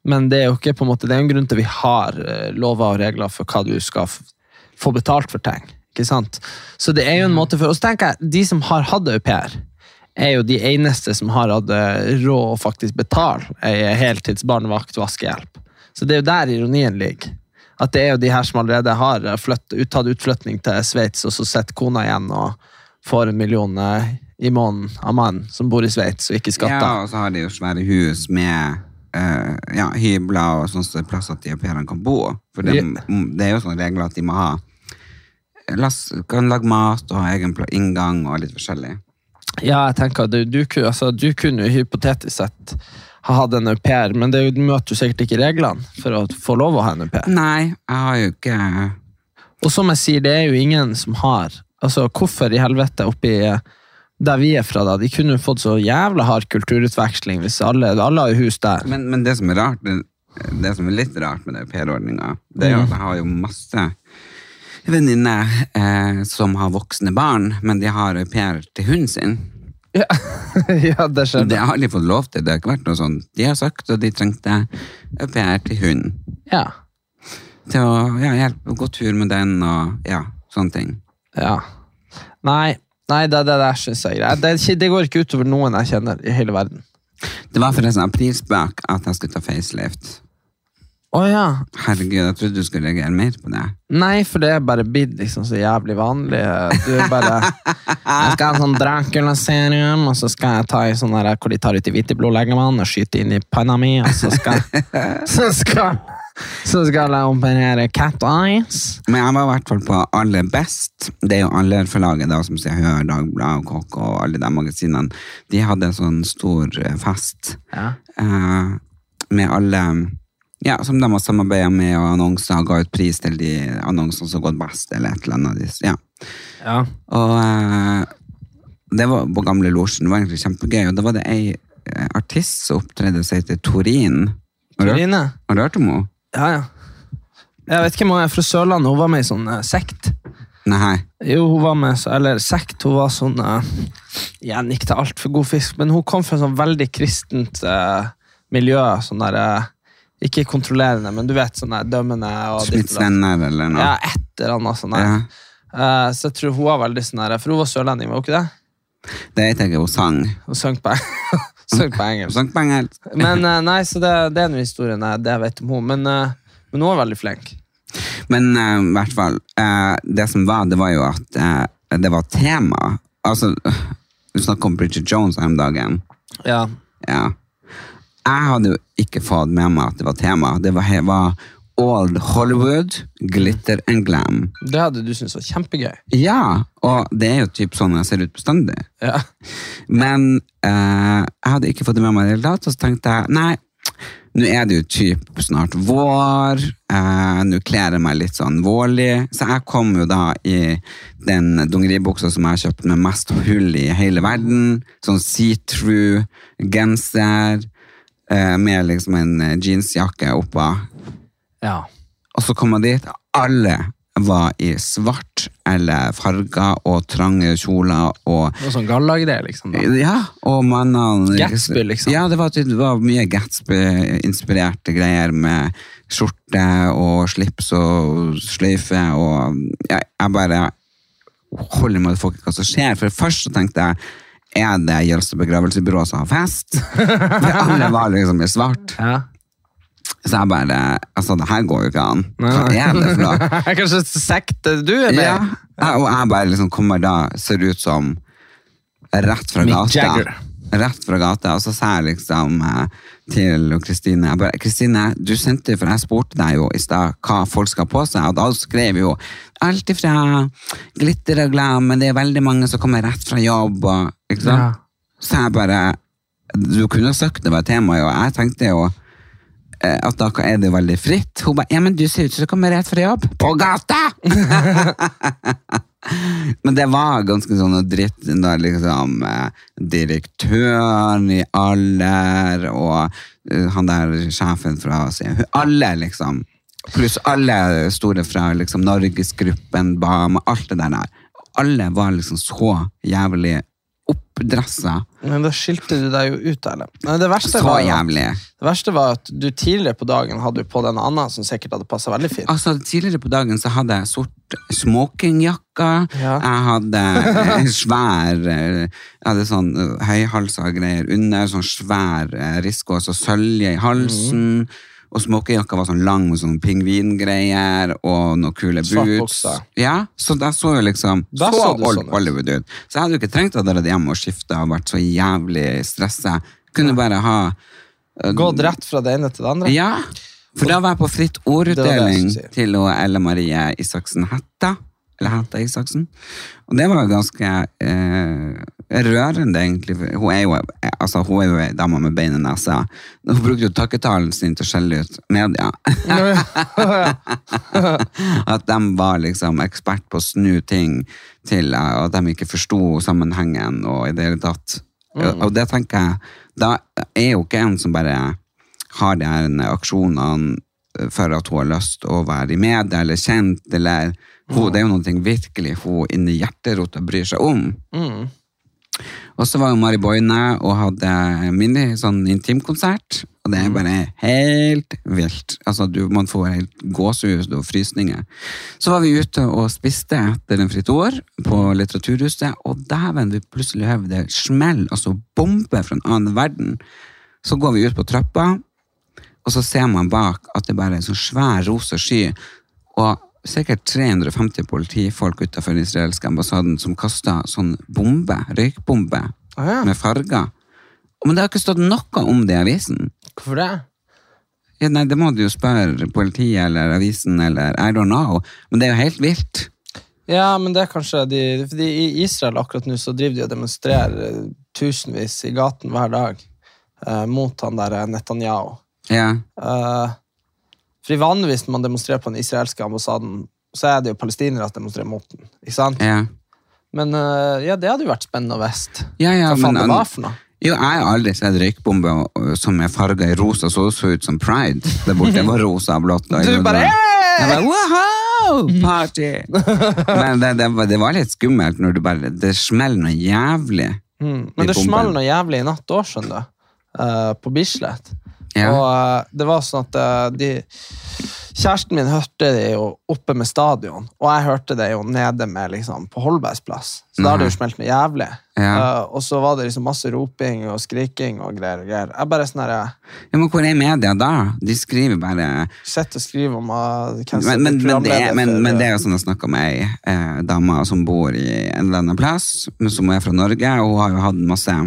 B: men det er jo ikke på en måte, det er jo en grunn til vi har eh, lover og regler for hva du skal f- få betalt for ting. ikke sant? Så det er jo en måte for, Og så tenker jeg, de som har hatt au pair, er jo de eneste som har hatt eh, råd å faktisk betale ei heltids barnevakt vaskehjelp. Så det er jo der ironien ligger. At det er jo de her som allerede har eh, flytt, ut, tatt utflytning til Sveits, og så sitter kona igjen og får en million eh, i måneden av mannen som bor i Sveits og ikke
A: Ja,
B: skatter.
A: og så har de jo svære hus med eh, ja, hybler og sånn så det er plass at de au pairene kan bo. For det,
B: Ja.
A: mm, det er jo sånne regler at de må ha lass, kan lage mat og ha egen pla- inngang og litt forskjellig.
B: Ja, jeg tenker at du, du, ku- altså, du kunne jo hypotetisk sett ha hatt en au pair, men det er jo- du møter jo sikkert ikke reglene for å få lov å ha en au pair.
A: Nei, jeg har jo ikke
B: Og som jeg sier, det er jo ingen som har Altså, hvorfor i helvete oppi eh, der vi er fra, da? De kunne jo fått så jævla hard kulturutveksling hvis alle, alle har jo hus der.
A: Men, men det som er rart, det, det som er litt rart med aupairordninga, det
B: Mm.
A: er jo at jeg har jo masse venninner eh, som har voksne barn, men de har au pair til hunden sin.
B: Ja, ja det skjedde.
A: Det har de fått lov til, det har ikke vært noe sånn. De har sagt at de trengte au pair til hunden.
B: Ja.
A: Til å ja, hjelpe å gå tur med den og ja, sånne ting.
B: ja. Nei, nei det, det der syns jeg er greit. Det, er ikke- det går ikke utover noen jeg kjenner i hele verden.
A: Det var forresten aprilspøk at jeg skulle ta facelift.
B: Å ja.
A: Herregud, jeg trodde du skulle reagere mer på det.
B: Nei, for det er bare blitt liksom så jævlig vanlig. Du er bare Jeg skal ha en sånn Dracula-serum, og så skal jeg ta i sånn der hvor de tar ut i hvite blodlegemann og skyter inn i panna mi, og så skal Så skal, så skal jeg operere cat eyes.
A: Men jeg var i hvert fall på Aller Best. Det er jo Aller-forlaget da, som Se og Hør, Dagbladet, KK og alle de magasinene. De hadde en sånn stor eh, fest
B: Ja.
A: eh, med alle ja, som de har samarbeida med, og annonser og ga ut pris til de annonsene som har gått best, eller et eller annet. De- Ja.
B: Ja.
A: Og eh, det var på gamle losjen. Det var egentlig kjempegøy. Og da var det ei eh, artist som opptredde seg til Torin. Har du hørt-
B: Trine?
A: har du hørt om henne?
B: Ja, ja. Jeg vet ikke om hun er fra Sørlandet. Hun var med i sånn eh, sekt.
A: Nei.
B: Jo, hun var med, eller sekt, hun var sånn eh, Igjen, ikke til alt for god fisk, men hun kom fra en sånn veldig kristent eh, miljø. sånn der, eh, Ikke kontrollerende, men du vet, sånn der dømmende og ditt
A: Smiths
B: og datt.
A: venner, eller noe?
B: Ja, et eller annet sånn der.
A: Ja.
B: Eh, så jeg tror hun var veldig sånn der, for hun var sørlending, var hun ikke det?
A: Det vet jeg ikke, hun sang.
B: Hun sang på, sang på
A: Hun
B: engelsk.
A: sang på engelsk.
B: Men eh, nei, så det, det er nå historien jeg det jeg vet om henne. Men, eh, men hun var veldig flink.
A: Men eh, i hvert fall, eh, det som var, det var jo at eh, det var tema. Altså, du snakket om Bridget Jones her om dagen.
B: Ja.
A: Ja. Jeg hadde jo ikke fått med meg at det var tema. Det var, he- var Old Hollywood, Glitter and Glam.
B: Det hadde du syntes var kjempegøy.
A: Ja, og det er jo typ sånn jeg ser ut bestandig.
B: Ja.
A: Men eh, jeg hadde ikke fått det med meg i det hele tatt, og så tenkte jeg, nei, nå er det jo typ snart vår, eh, nå kler jeg meg litt sånn vårlig, så jeg kom jo da i den dongeribuksa som jeg har kjøpt med mest hull i hele verden, sånn see-through genser, eh, med liksom en eh, jeansjakke oppa,
B: ja.
A: og så kom jeg dit, alle var i svart eller farger og trange kjoler og
B: Noe sånn gallagreier, liksom. da.
A: ja, og mannene
B: Gatsby, liksom.
A: Ja, det var, det var mye Gatsby-inspirerte greier med skjorte og slips og sløyfe og jeg, jeg bare holder med at folk ikke hva som skjer. For først så tenkte jeg er det Jølstad begravelsesbyrå som har fest? For alle var liksom i svart.
B: Ja.
A: Så jeg bare Altså, det her går jo ikke an. Hva
B: Nei.
A: er det for noe?
B: Kanskje sekte du er med?
A: Ja, jeg- og jeg bare liksom kommer da, ser ut som rett fra
B: Mick
A: gata.
B: Jagger.
A: Rett fra gata, og så sa jeg liksom eh, til Kristine jeg bare, Kristine, du sendte, for jeg spurte deg jo i stad hva folk skal på seg, og da skrev jo alt ifra glitter og glam, men det er veldig mange som kommer rett fra jobb, og, ikke sant?
B: Ja.
A: Så jeg bare Du kunne jo sagt det var temaet, og jeg tenkte jo eh, at da er det jo veldig fritt. Hun bare 'ja, men du ser ut som du kommer rett fra jobb'. På gata! Men det var ganske sånn noe dritt da liksom eh, direktøren i Aller og eh, han der sjefen fra Se og Hør. Alle, liksom. Pluss alle store fra liksom Norgesgruppen, Bama, alt det der der. Alle var liksom så jævlig opp toppdresser.
B: Men da skilte du deg jo ut, Erlend. Men Det verste,
A: Så
B: var jo,
A: jævlig.
B: det verste var at du tidligere på dagen hadde jo på den annen som sikkert hadde passa veldig fint.
A: Altså, tidligere på dagen så hadde jeg sort smokingjakke.
B: Ja.
A: Jeg hadde en svær eh, Jeg hadde sånn eh, høyhalsa greier under, sånn svær eh, rissgås og sølje i halsen.
B: Mhm.
A: Og smokingjakka var sånn lang med sånn pingvingreier og noen kule
B: Svart
A: boots.
B: bukse.
A: Ja, så der så jo liksom
B: Da
A: så,
B: så du
A: old
B: sånn ut.
A: Hollywood ut. Så jeg hadde jo ikke trengt å dra hjem og skifte og vært så jævlig stressa. Kunne bare ha
B: Gått rett fra det ene til det andre.
A: ja, for da var jeg på fritt
B: Det var det jeg
A: ordutdeling
B: skulle si.
A: til hun Elle Marie Isaksen Hætta. Eller Hætta Isaksen. Og det var ganske eh, rørende, egentlig. for Hun er jo altså, hun er jo ei dame med bein i nesa. Hun brukte jo takketalen sin til å skjelle ut media. At de var liksom ekspert på å snu ting til, eh, og at de ikke forsto sammenhengen og i det hele tatt. Og- Og det tenker jeg, da er jo ikke en som bare har de her aksjonene eh, for at hun har lyst å være i media eller kjent, eller hun, det er jo noe virkelig hun inni hjerterota bryr seg om.
B: Mm.
A: Og så var jo Mari Boine og hadde mini sånn intimkonsert, og det er bare helt vilt. Altså, du, man får helt gåsehus og frysninger. Så var vi ute og spiste etter en fritt år på Litteraturhuset, og dæven, vi plutselig høver det smell, altså bombe fra en annen verden. Så går vi ut på trappa, og så ser man bak at det bare er en sånn svær rosa sky, og sikkert 350 politifolk utenfor den israelske ambassaden som kastet sånn bombe, røykbombe,
B: Ah, ja.
A: med farger. Men det har ikke stått noe om det i avisen.
B: Hvorfor det?
A: Ja, nei, det må du jo spørre politiet eller avisen, eller I don't know. Men det er jo helt vilt.
B: Ja, men det er kanskje de Fordi i Israel akkurat nå så driver de og demonstrerer eh, tusenvis i gaten hver dag eh, mot han der eh, Netanyahu.
A: Ja,
B: Eh, fordi vanligvis når man demonstrerer på den israelske ambassaden, så er det jo palestinere som demonstrerer mot den. Ikke sant?
A: ja.
B: Men eh, ja, det hadde jo vært spennende å vite.
A: Ja, ja,
B: Hva faen
A: men-
B: det var for noe?
A: Jo, jeg har aldri sett røykbombe øh, som er farga i rosa, så det så ut som pride der borte. Det var rosa og blått. og-
B: Du bare, Mm.
A: Jeg bare wow, party! Men det, det, var- det var litt skummelt når du bare Det smeller noe jævlig.
B: Mm.
A: i
B: Men
A: bomben.
B: det smalt noe jævlig i natt òg, skjønner du. Eh, på Bislett.
A: Ja.
B: Og eh, det var sånn at eh, de Kjæresten min hørte det jo oppe med stadion, og jeg hørte det jo nede med liksom på Holbergs plass. Så da har det jo smelt noe jævlig.
A: Mhm. Ja.
B: Eh, og så var det liksom masse roping og skriking og greier og greier. Jeg bare sånn her jeg
A: Ja, men hvor er media da? De skriver bare
B: sitter og skriver om eh, hvem som
A: men, men, men, det, er-
B: programleder
A: men,
B: for,
A: men det
B: eh,
A: er jo sånn jeg snakker om ei eh, dame som bor i en eller annen plass, men som er fra Norge, og hun har jo hatt masse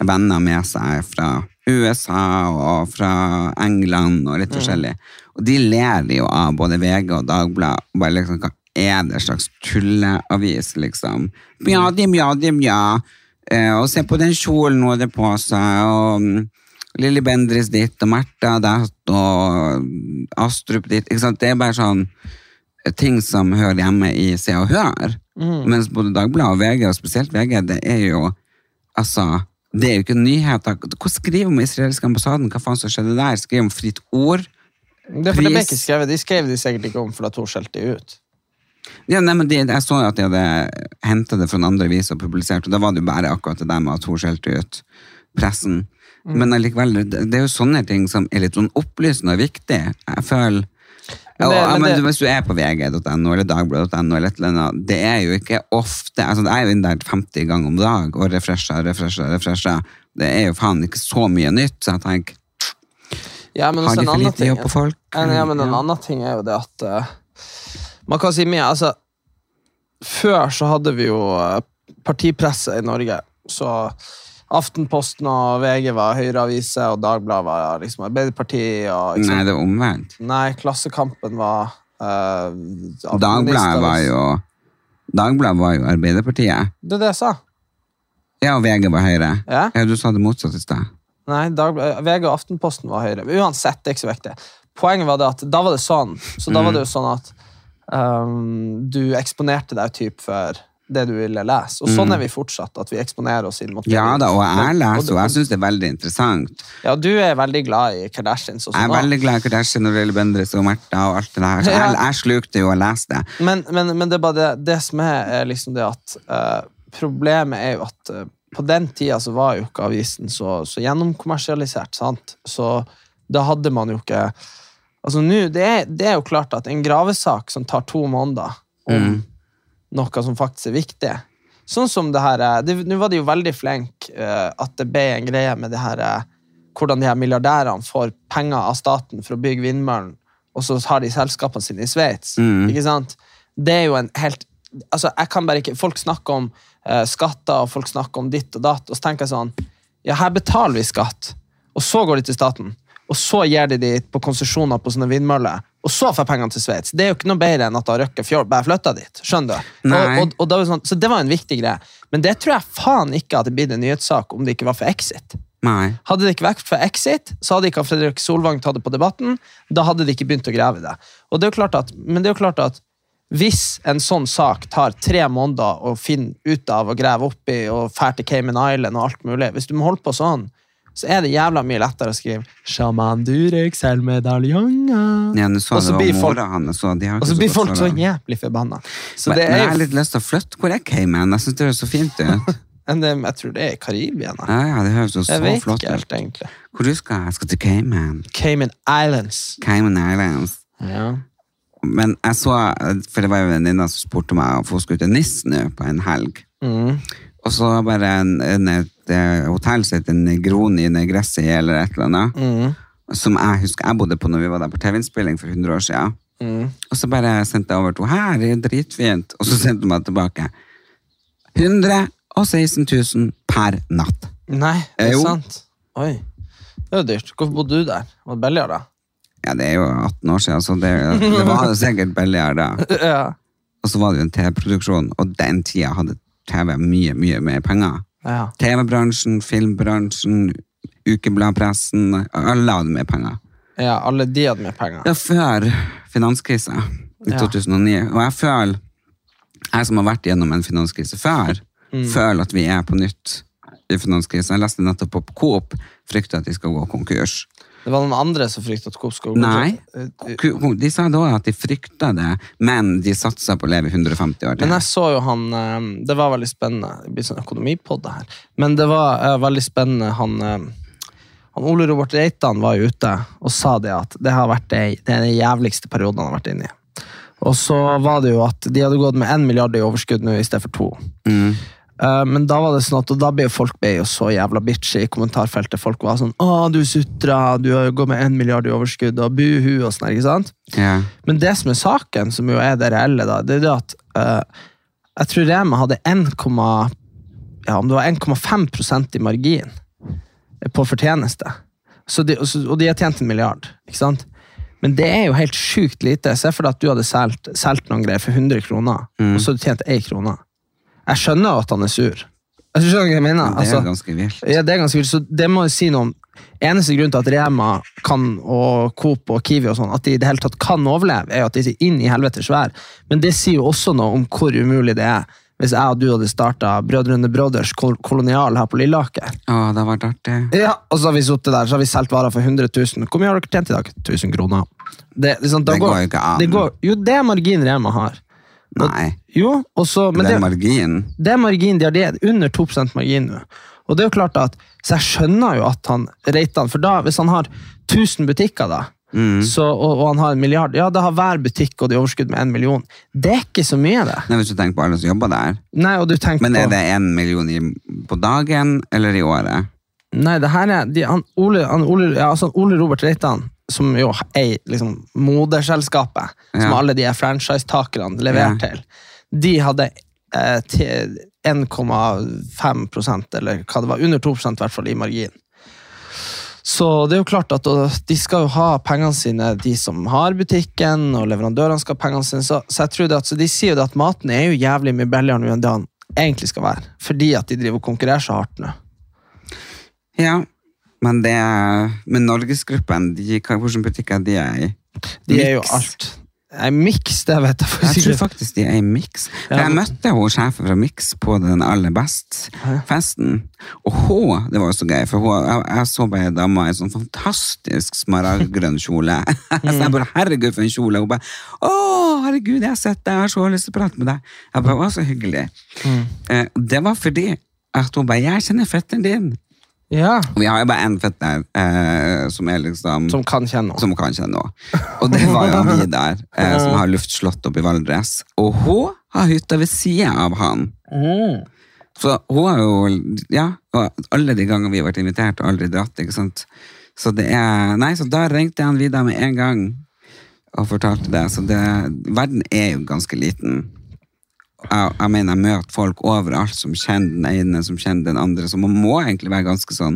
A: venner med seg fra USA og fra England og litt forskjellig. Og de ler jo av både VG og Dagbladet. og Bare liksom, hva er det slags tulleavis, liksom? Mja, de, mja, de, mja. Eh, og se på den kjolen hun hadde på seg, og mm, Lilly Bendris ditt, og Märtha datt, og Astrup ditt. Ikke sant? Det er bare sånn ting som hører hjemme i Se og Hør. Mens både Dagbladet og VG, og spesielt VG, det er jo altså, det er jo ikke nyheter. Hva skriver om israelske ambassaden? Hva faen som skjedde der? Skriver om fritt ord?
B: eh, det, for det ble
A: pris-
B: ikke skrevet. De skrev de sikkert ikke om, for at hun skjelte de ut.
A: Ja, nei, men det, Jeg så at de hadde henta det fra en andre avis og publisert, og da var det jo bare akkurat det der med at hun skjelte ut pressen.
B: Mm.
A: Men allikevel, det, det er jo sånne ting som er litt sånn opplysende og viktig. Jeg føler
B: Men
A: og,
B: det-
A: ja,
B: men
A: men
B: det-
A: Hvis du er på vg.no eller dagbladet.no, eller et eller annet, det er jo ikke ofte altså Jeg er jo inne der 50 ganger om dag og refresher, refresher, refresher. Det er jo faen ikke så mye nytt, så jeg tenker
B: Ja, men
A: Har
B: også
A: de
B: en
A: for
B: annen
A: lite
B: ting-
A: jobb på folk?
B: En, ja, men en
A: Ja.
B: annen ting er jo det at eh, Man kan si mye. Altså, før så hadde vi jo eh, partipresse i Norge. Så Aftenposten og VG var høyreaviser, og Dagbladet var liksom Arbeiderpartiet. Og, ikke
A: Nei,
B: sant?
A: det er omvendt.
B: Nei, Klassekampen var eh,
A: Dagbladet var jo Dagbladet var jo Arbeiderpartiet.
B: Det er det jeg sa.
A: Ja, og VG var Høyre.
B: Ja.
A: Ja, du sa det motsatt i stad.
B: Nei, Dagbladet, VG og Aftenposten var høyere. Men Uansett, det er ikke så viktig. Poenget var det at da var det sånn. Så da var
A: Mm.
B: det jo sånn at um, du eksponerte deg typ for det du ville lese. Og sånn er vi fortsatt, at vi eksponerer oss inn mot det
A: Mm. Ja
B: vi-
A: da, og jeg leser, og jeg
B: og du,
A: syns det er veldig interessant.
B: ja, du er veldig glad i Kardashians og
A: Jeg er
B: sånn.
A: veldig glad i Kardashian og Lille Bendriss og Märtha og alt det der. Så jeg,
B: Ja.
A: jeg slukte jo og leste.
B: Men, men, men det er bare det, det som er, er liksom det at eh, problemet er jo at eh, på den tida så var jo ikke avisen så, så gjennomkommersialisert, sant? Så da hadde man jo ikke Altså nå, det, er- det er jo klart at en gravesak som tar to måneder om noe som faktisk er viktig Sånn som det her eh, det- Nå var de jo veldig flinke at det ble en greie med det her eh, hvordan de her milliardærene får penger av staten for å bygge vindmøllen, og så har de selskapene sine i Sveits. Ikke sant? Det er jo en helt altså jeg kan bare ikke, Folk snakker om eh, skatter og folk snakker om ditt og datt, og så tenker jeg sånn Ja, her betaler vi skatt, og så går de til staten. Og så gir de de på konsesjoner på sånne vindmøller, og så får jeg pengene til Sveits. Det er jo ikke noe bedre enn at da Røkke Fjord bare flytta dit. skjønner du? Og,
A: Nei.
B: og, og da var det sånn, så det var en viktig greie. Men det tror jeg faen ikke hadde blitt en nyhetssak om det ikke var for Exit.
A: Nei.
B: Hadde det ikke vært for Exit, så hadde ikke Fredrik Solvang tatt det på debatten. Da hadde de ikke begynt å grave i det. Og det er jo klart at, men det er jo klart at hvis en sånn sak tar tre måneder å finne ut av og grave opp i og fære til Cayman Island og alt mulig, hvis du må holde på sånn, så er det jævla mye lettere å skrive Shaman Durek selv medaljonger.
A: Ja, nå så
B: Og
A: jeg
B: så
A: det
B: blir
A: var
B: folk-
A: mora hans, så de har
B: Og
A: ikke
B: så blir
A: godt
B: folk så
A: forhold.
B: jævlig forbanna. Så
A: men,
B: det
A: men jeg
B: er
A: har
B: jo
A: litt lyst til å flytte hvor jeg came hen. Jeg syns det høres så fint ut.
B: Men det- Jeg tror det er i Karibia. nei.
A: Ja, ja, det høres jo så
B: Jeg vet
A: flott
B: ikke helt,
A: ut.
B: egentlig.
A: Hvor du skal Jeg skal til Cayman.
B: Cayman Islands.
A: Cayman Islands. Men jeg så, for det var jo en venninne som spurte meg om hun skulle til NIS nå på en helg. Og så bare en, en, et eh, hotell som heter Negroni Negressi eller et eller annet. Som jeg husker jeg bodde på når vi var der på TV-innspilling for 100 år siden. Og så bare sendte jeg over to her, det er dritfint. Og så sendte hun meg tilbake. 116 000 per natt.
B: Nei, det
A: Eh,
B: er
A: jo.
B: sant. Oi. Det er jo dyrt. Hvorfor bodde du der? Var det billigere, da?
A: Ja, det er jo 18 år siden, så det, det var jo sikkert billigere da.
B: Ja.
A: Og så var det jo en TV-produksjon, og den tida hadde TV mye, mye mer penger.
B: ja.
A: TV-bransjen, filmbransjen, ukebladpressen, alle hadde mer penger.
B: Ja, alle de hadde mer penger.
A: Ja, før finanskrisa i
B: Ja.
A: 2009, og jeg føler, jeg som har vært gjennom en finanskrise før,
B: Mm.
A: føler at vi er på nytt i finanskrisen. Jeg leste nettopp på Coop, frykter at de skal gå konkurs.
B: Det var noen andre som fryktet at Coop skulle gå
A: Nei,
B: konkurs. Eh,
A: ku- ku- de sa da at de frykta det, men de satsa på å leve 150 år til.
B: Men jeg så jo han eh, Det var veldig spennende. Det blir sånn økonomipodd det her. Men det var eh, veldig spennende. Han, eh, han Ole Robert Reitan var jo ute og sa det at det har vært det, det er den jævligste perioden han har vært inne i. Og så var det jo at de hadde gått med én milliard i overskudd nå i stedet for to. Eh, Men da var det sånn at, og da ble jo folk ble jo så jævla bitchy i kommentarfeltet. Folk var sånn 'Å, du sutra, du har jo gått med én milliard i overskudd', og buhu, og sånn her, ikke sant?
A: Ja.
B: Men det som er saken, som jo er det reelle, da, det er det at eh, jeg tror Rema hadde 1, ja, om det var 1,5 prosent i margin eh, på fortjeneste. Så de, og så- og de har tjent en milliard. ikke sant? Men det er jo helt sjukt lite. Se for deg at du hadde solgt solgt noen greier for 100 kroner,
A: Mm.
B: og så hadde du tjent én krone. Jeg skjønner jo at han er sur. Jeg skjønner hva jeg mener.
A: Det er
B: altså.
A: jo ganske vilt.
B: Ja, det er ganske vilt. Så det må jeg si noe om. Eneste grunn til at Rema kan, og Coop og Kiwi og sånn, at de i det hele tatt kan overleve, er jo at de er inn i helvetes vær. Men det sier jo også noe om hvor umulig det er. Hvis jeg og du hadde starta Brødrene Brothers kol kolonial her på Lilleaker.
A: Å, det har vært artig.
B: Ja, og så har vi sittet der, så har vi solgt varer for 100 000. Hvor mye har dere tjent i dag? 1000 kroner. Det, liksom, da
A: Det går jo ikke an.
B: Det går, jo, det er margin Rema har. Og-
A: Nei.
B: Jo, og så, men
A: den
B: det,
A: marginen.
B: det er margin, de har det er under 2 margin nå. Og det er jo klart at, Så jeg skjønner jo at han Reitan For da, hvis han har 1000 butikker, da,
A: Mm.
B: så, og, og han har en milliard, ja, da har hver butikk og de overskudd med en million. Det er ikke så mye, det.
A: Nei, hvis du tenker på alle som jobber der.
B: Nei, og du tenker
A: Men er
B: på
A: det en million i, på dagen eller i året?
B: Nei, det her er de, han, Ole, han, Ole, ja, altså, Ole Robert Reitan, som jo eier liksom, moderselskapet, som
A: Ja.
B: alle de her franchisetakerne leverer
A: Ja.
B: til, de hadde eh, til 1,5 prosent, eller hva det var, under 2 prosent i hvert fall, i margin. Så det er jo klart at og, de skal jo ha pengene sine, de som har butikken, og leverandørene skal ha pengene sine, så, så jeg tror det at, så de sier jo det at maten er jo jævlig mye billigere nå enn det han egentlig skal være, fordi at de driver og konkurrerer så hardt nå.
A: Ja, men det er Men Norgesgruppen, de, hva- hvilke butikker de er i?
B: De er jo
A: Mix.
B: alt. Nei, Mix, det vet jeg
A: Jeg
B: faktisk
A: tror
B: ikke.
A: faktisk de er i Mix. For jeg møtte hun sjefen fra Mix på den aller best-festen. Og hun, det var jo så gøy, for hun, jeg, jeg så bare ei dame i sånn fantastisk smaragdgrønn kjole. så jeg bare 'herregud, for en kjole'. Hun bare 'å, Mm. herregud, jeg har sett deg, jeg har så lyst til å prate med deg'. Jeg bare 'å, så hyggelig'. Eh, det var fordi At hun bare 'Jeg kjenner fetteren din'.
B: Ja.
A: Og vi har jo bare én fetter eh, som er liksom
B: Som kan kjenne henne.
A: som kan kjenne henne. Og det var jo Vidar, eh, som har luftslott oppe i Valdres. Og hun har hytta ved sida av han. Mm. Så hun har jo Ja, og alle de gangene vi har vært invitert, og aldri dratt, ikke sant. Så det er Nei, så da ringte han Vidar med en gang og fortalte det. Så det Verden er jo ganske liten. Jeg, jeg mener, jeg møter folk overalt som kjenner den ene, som kjenner den andre, så man må egentlig være ganske sånn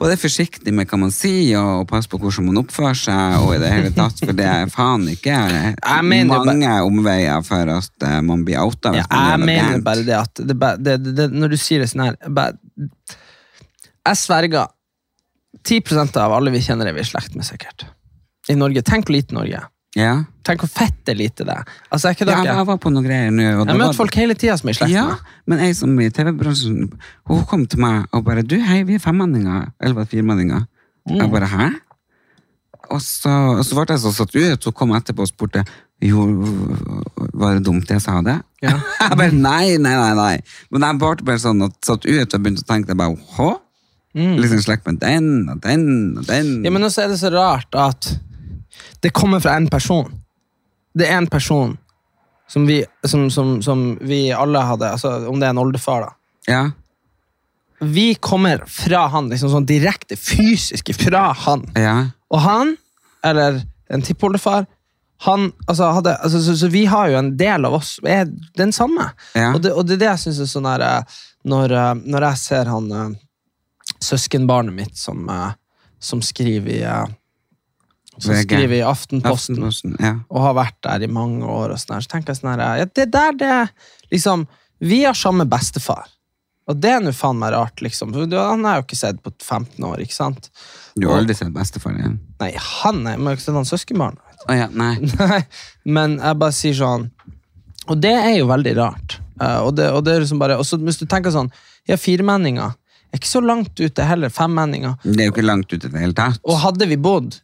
A: både forsiktig med hva man sier, og, og passe på hvordan man oppfører seg, og i det hele tatt, for det er faen ikke
B: mener jo
A: mange omveier for at eh, man blir outa. hvis
B: Ja,
A: man gjør
B: jeg
A: noe
B: mener
A: gærent.
B: bare det at det, bare- det, det, det, Når du sier det sånn her bare, Jeg sverger 10 av alle vi kjenner, er vi i slekt med, sikkert. I Norge. Tenk hvor lite Norge er.
A: Ja.
B: Tenk hvor fett det er lite det er. Altså, er ikke
A: ja,
B: dere?
A: jeg, jeg var på noen greier nå. og da
B: jeg
A: var-
B: møter folk hele tida som er i slekt
A: Ja,
B: med.
A: men ei som i TV-bransjen, hun kom til meg og bare, du hei, vi er femmanninger, eller var det firemanninger.
B: Mm.
A: Jeg bare, hæ? Og så, og så ble jeg så satt ut, så kom jeg etterpå og spurte, jo, var det dumt jeg sa det?
B: Ja.
A: jeg bare, nei, nei, nei, nei. Men jeg ble bare sånn, at satt ut og begynte å tenke, jeg bare, hå? Liksom slekt med den, og den, og den.
B: Mm. Ja, men også er det så rart at det kommer fra en person. Det er en person som vi, som, som, som vi alle hadde, altså, om det er en oldefar, da.
A: ja.
B: Vi kommer fra han, liksom sånn direkte, fysisk fra han.
A: ja.
B: Og han, eller en tippoldefar, han, altså, hadde, altså, så, så vi har jo en del av oss er den samme.
A: Ja.
B: Og, det, og det er det jeg syns er sånn her eh, når, eh, når jeg ser han eh, søskenbarnet mitt som, eh, som skriver i eh, som
A: VG.
B: skriver i Aftenposten,
A: Aftenposten, ja.
B: og har vært der i mange år, og sånn her, så tenker jeg sånn her ja, Det der, det liksom Vi har samme bestefar. Og det er nå faen meg rart, liksom. Du, Han har jeg jo ikke sett på 15 år, ikke sant?
A: Du har aldri sett bestefar igjen.
B: Nei, han er men jeg har ikke sett han søskenbarn.
A: Å ja, nei.
B: Nei, men jeg bare sier sånn Og det er jo veldig rart. Eh, og, det, og det er liksom bare, og så hvis du tenker sånn Ja, firemenninger er ikke så langt ute heller. Femmenninger.
A: Det er jo ikke langt ut i det hele tatt.
B: Og hadde vi bodd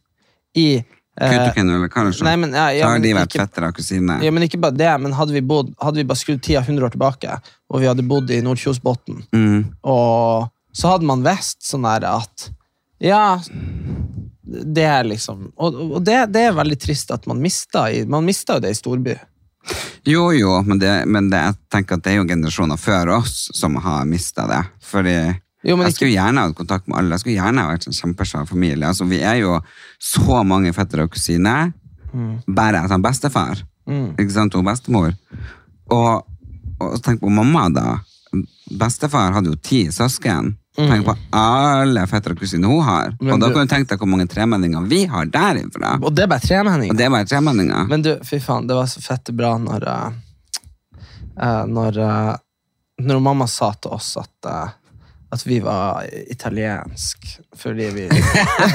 B: i eh,
A: Kautokeino eller Karlsson,
B: nei, men, ja, ja,
A: så har
B: men
A: de vært
B: ikke-
A: fettere og kusine.
B: ja, men ikke bare det, men hadde vi, bodd, hadde vi bare skrudd tida 100 år tilbake, og vi hadde bodd i Nordkjosbotn,
A: Mm.
B: og så hadde man visst sånn der at Ja, det er liksom Og, og det, det er veldig trist at man mista i, Man mista jo det i storby.
A: Jo, jo, men, det, men det, jeg tenker at det er jo generasjoner før oss som har mista det. Fordi
B: Jo, men
A: jeg skulle gjerne hatt kontakt med alle. Jeg skulle gjerne ha vært en kjempesvær familie. Altså, vi er jo så mange fettere og kusiner.
B: Mm.
A: Bare at han bestefar. Ikke sant? Og bestemor. Og, og tenk på mamma, da. Bestefar hadde jo ti søsken. Tenk på alle fettere og kusiner hun har.
B: Mm. Men
A: og da
B: du-
A: kan du tenke deg hvor mange tremenninger vi har derifra.
B: Og det er bare tremenninger.
A: Og det er bare tremenninger.
B: Men du, fy faen, det var så fett bra når eh, eh, Når, eh, når mamma sa til oss at, eh, at vi var italiensk fordi vi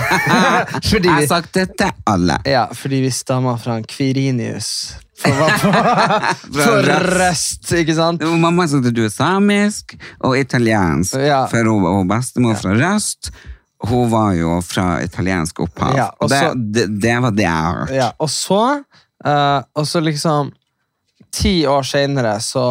A: Jeg
B: Fordi vi
A: har sagt det til alle.
B: Ja, fordi vi stammer fra en Quirinius. For, for, for røst, ikke sant?
A: Det var Mamma sa at du er samisk og italiensk,
B: Ja.
A: for hun var hun bestemor fra Røst. Hun var jo fra italiensk opphav.
B: Ja, og
A: og det,
B: så-
A: det, det var det jeg hørte.
B: Ja, og så, eh, og så liksom Ti år seinere så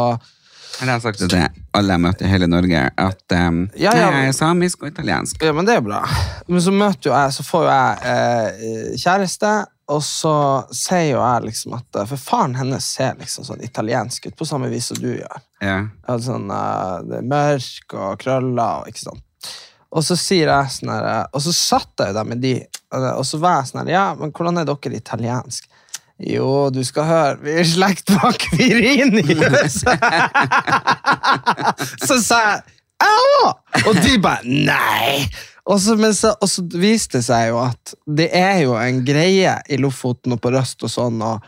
A: Jeg har sagt det til alle jeg møtte i hele Norge, at um,
B: Ja, ja.
A: jeg er samisk og italiensk.
B: Ja, men det er bra. Men så møter jo jeg, så får jo jeg eh, kjæreste, og så sier jo jeg liksom at eh, For faren hennes ser liksom sånn italiensk ut, på samme vis som du gjør.
A: Ja.
B: Ja, Sånn, eh, det er mørk og krøller og ikke sant. Og så sier jeg sånn her eh, Og så satt jeg jo der med de, eh, og så var jeg sånn her Ja, men hvordan er dere italiensk? Jo, du skal høre, vi er i slekt bak Virinius! så sa jeg Au! Og de bare Nei! Og så, men så, og så viste det seg jo at det er jo en greie i Lofoten og på Røst og sånn, og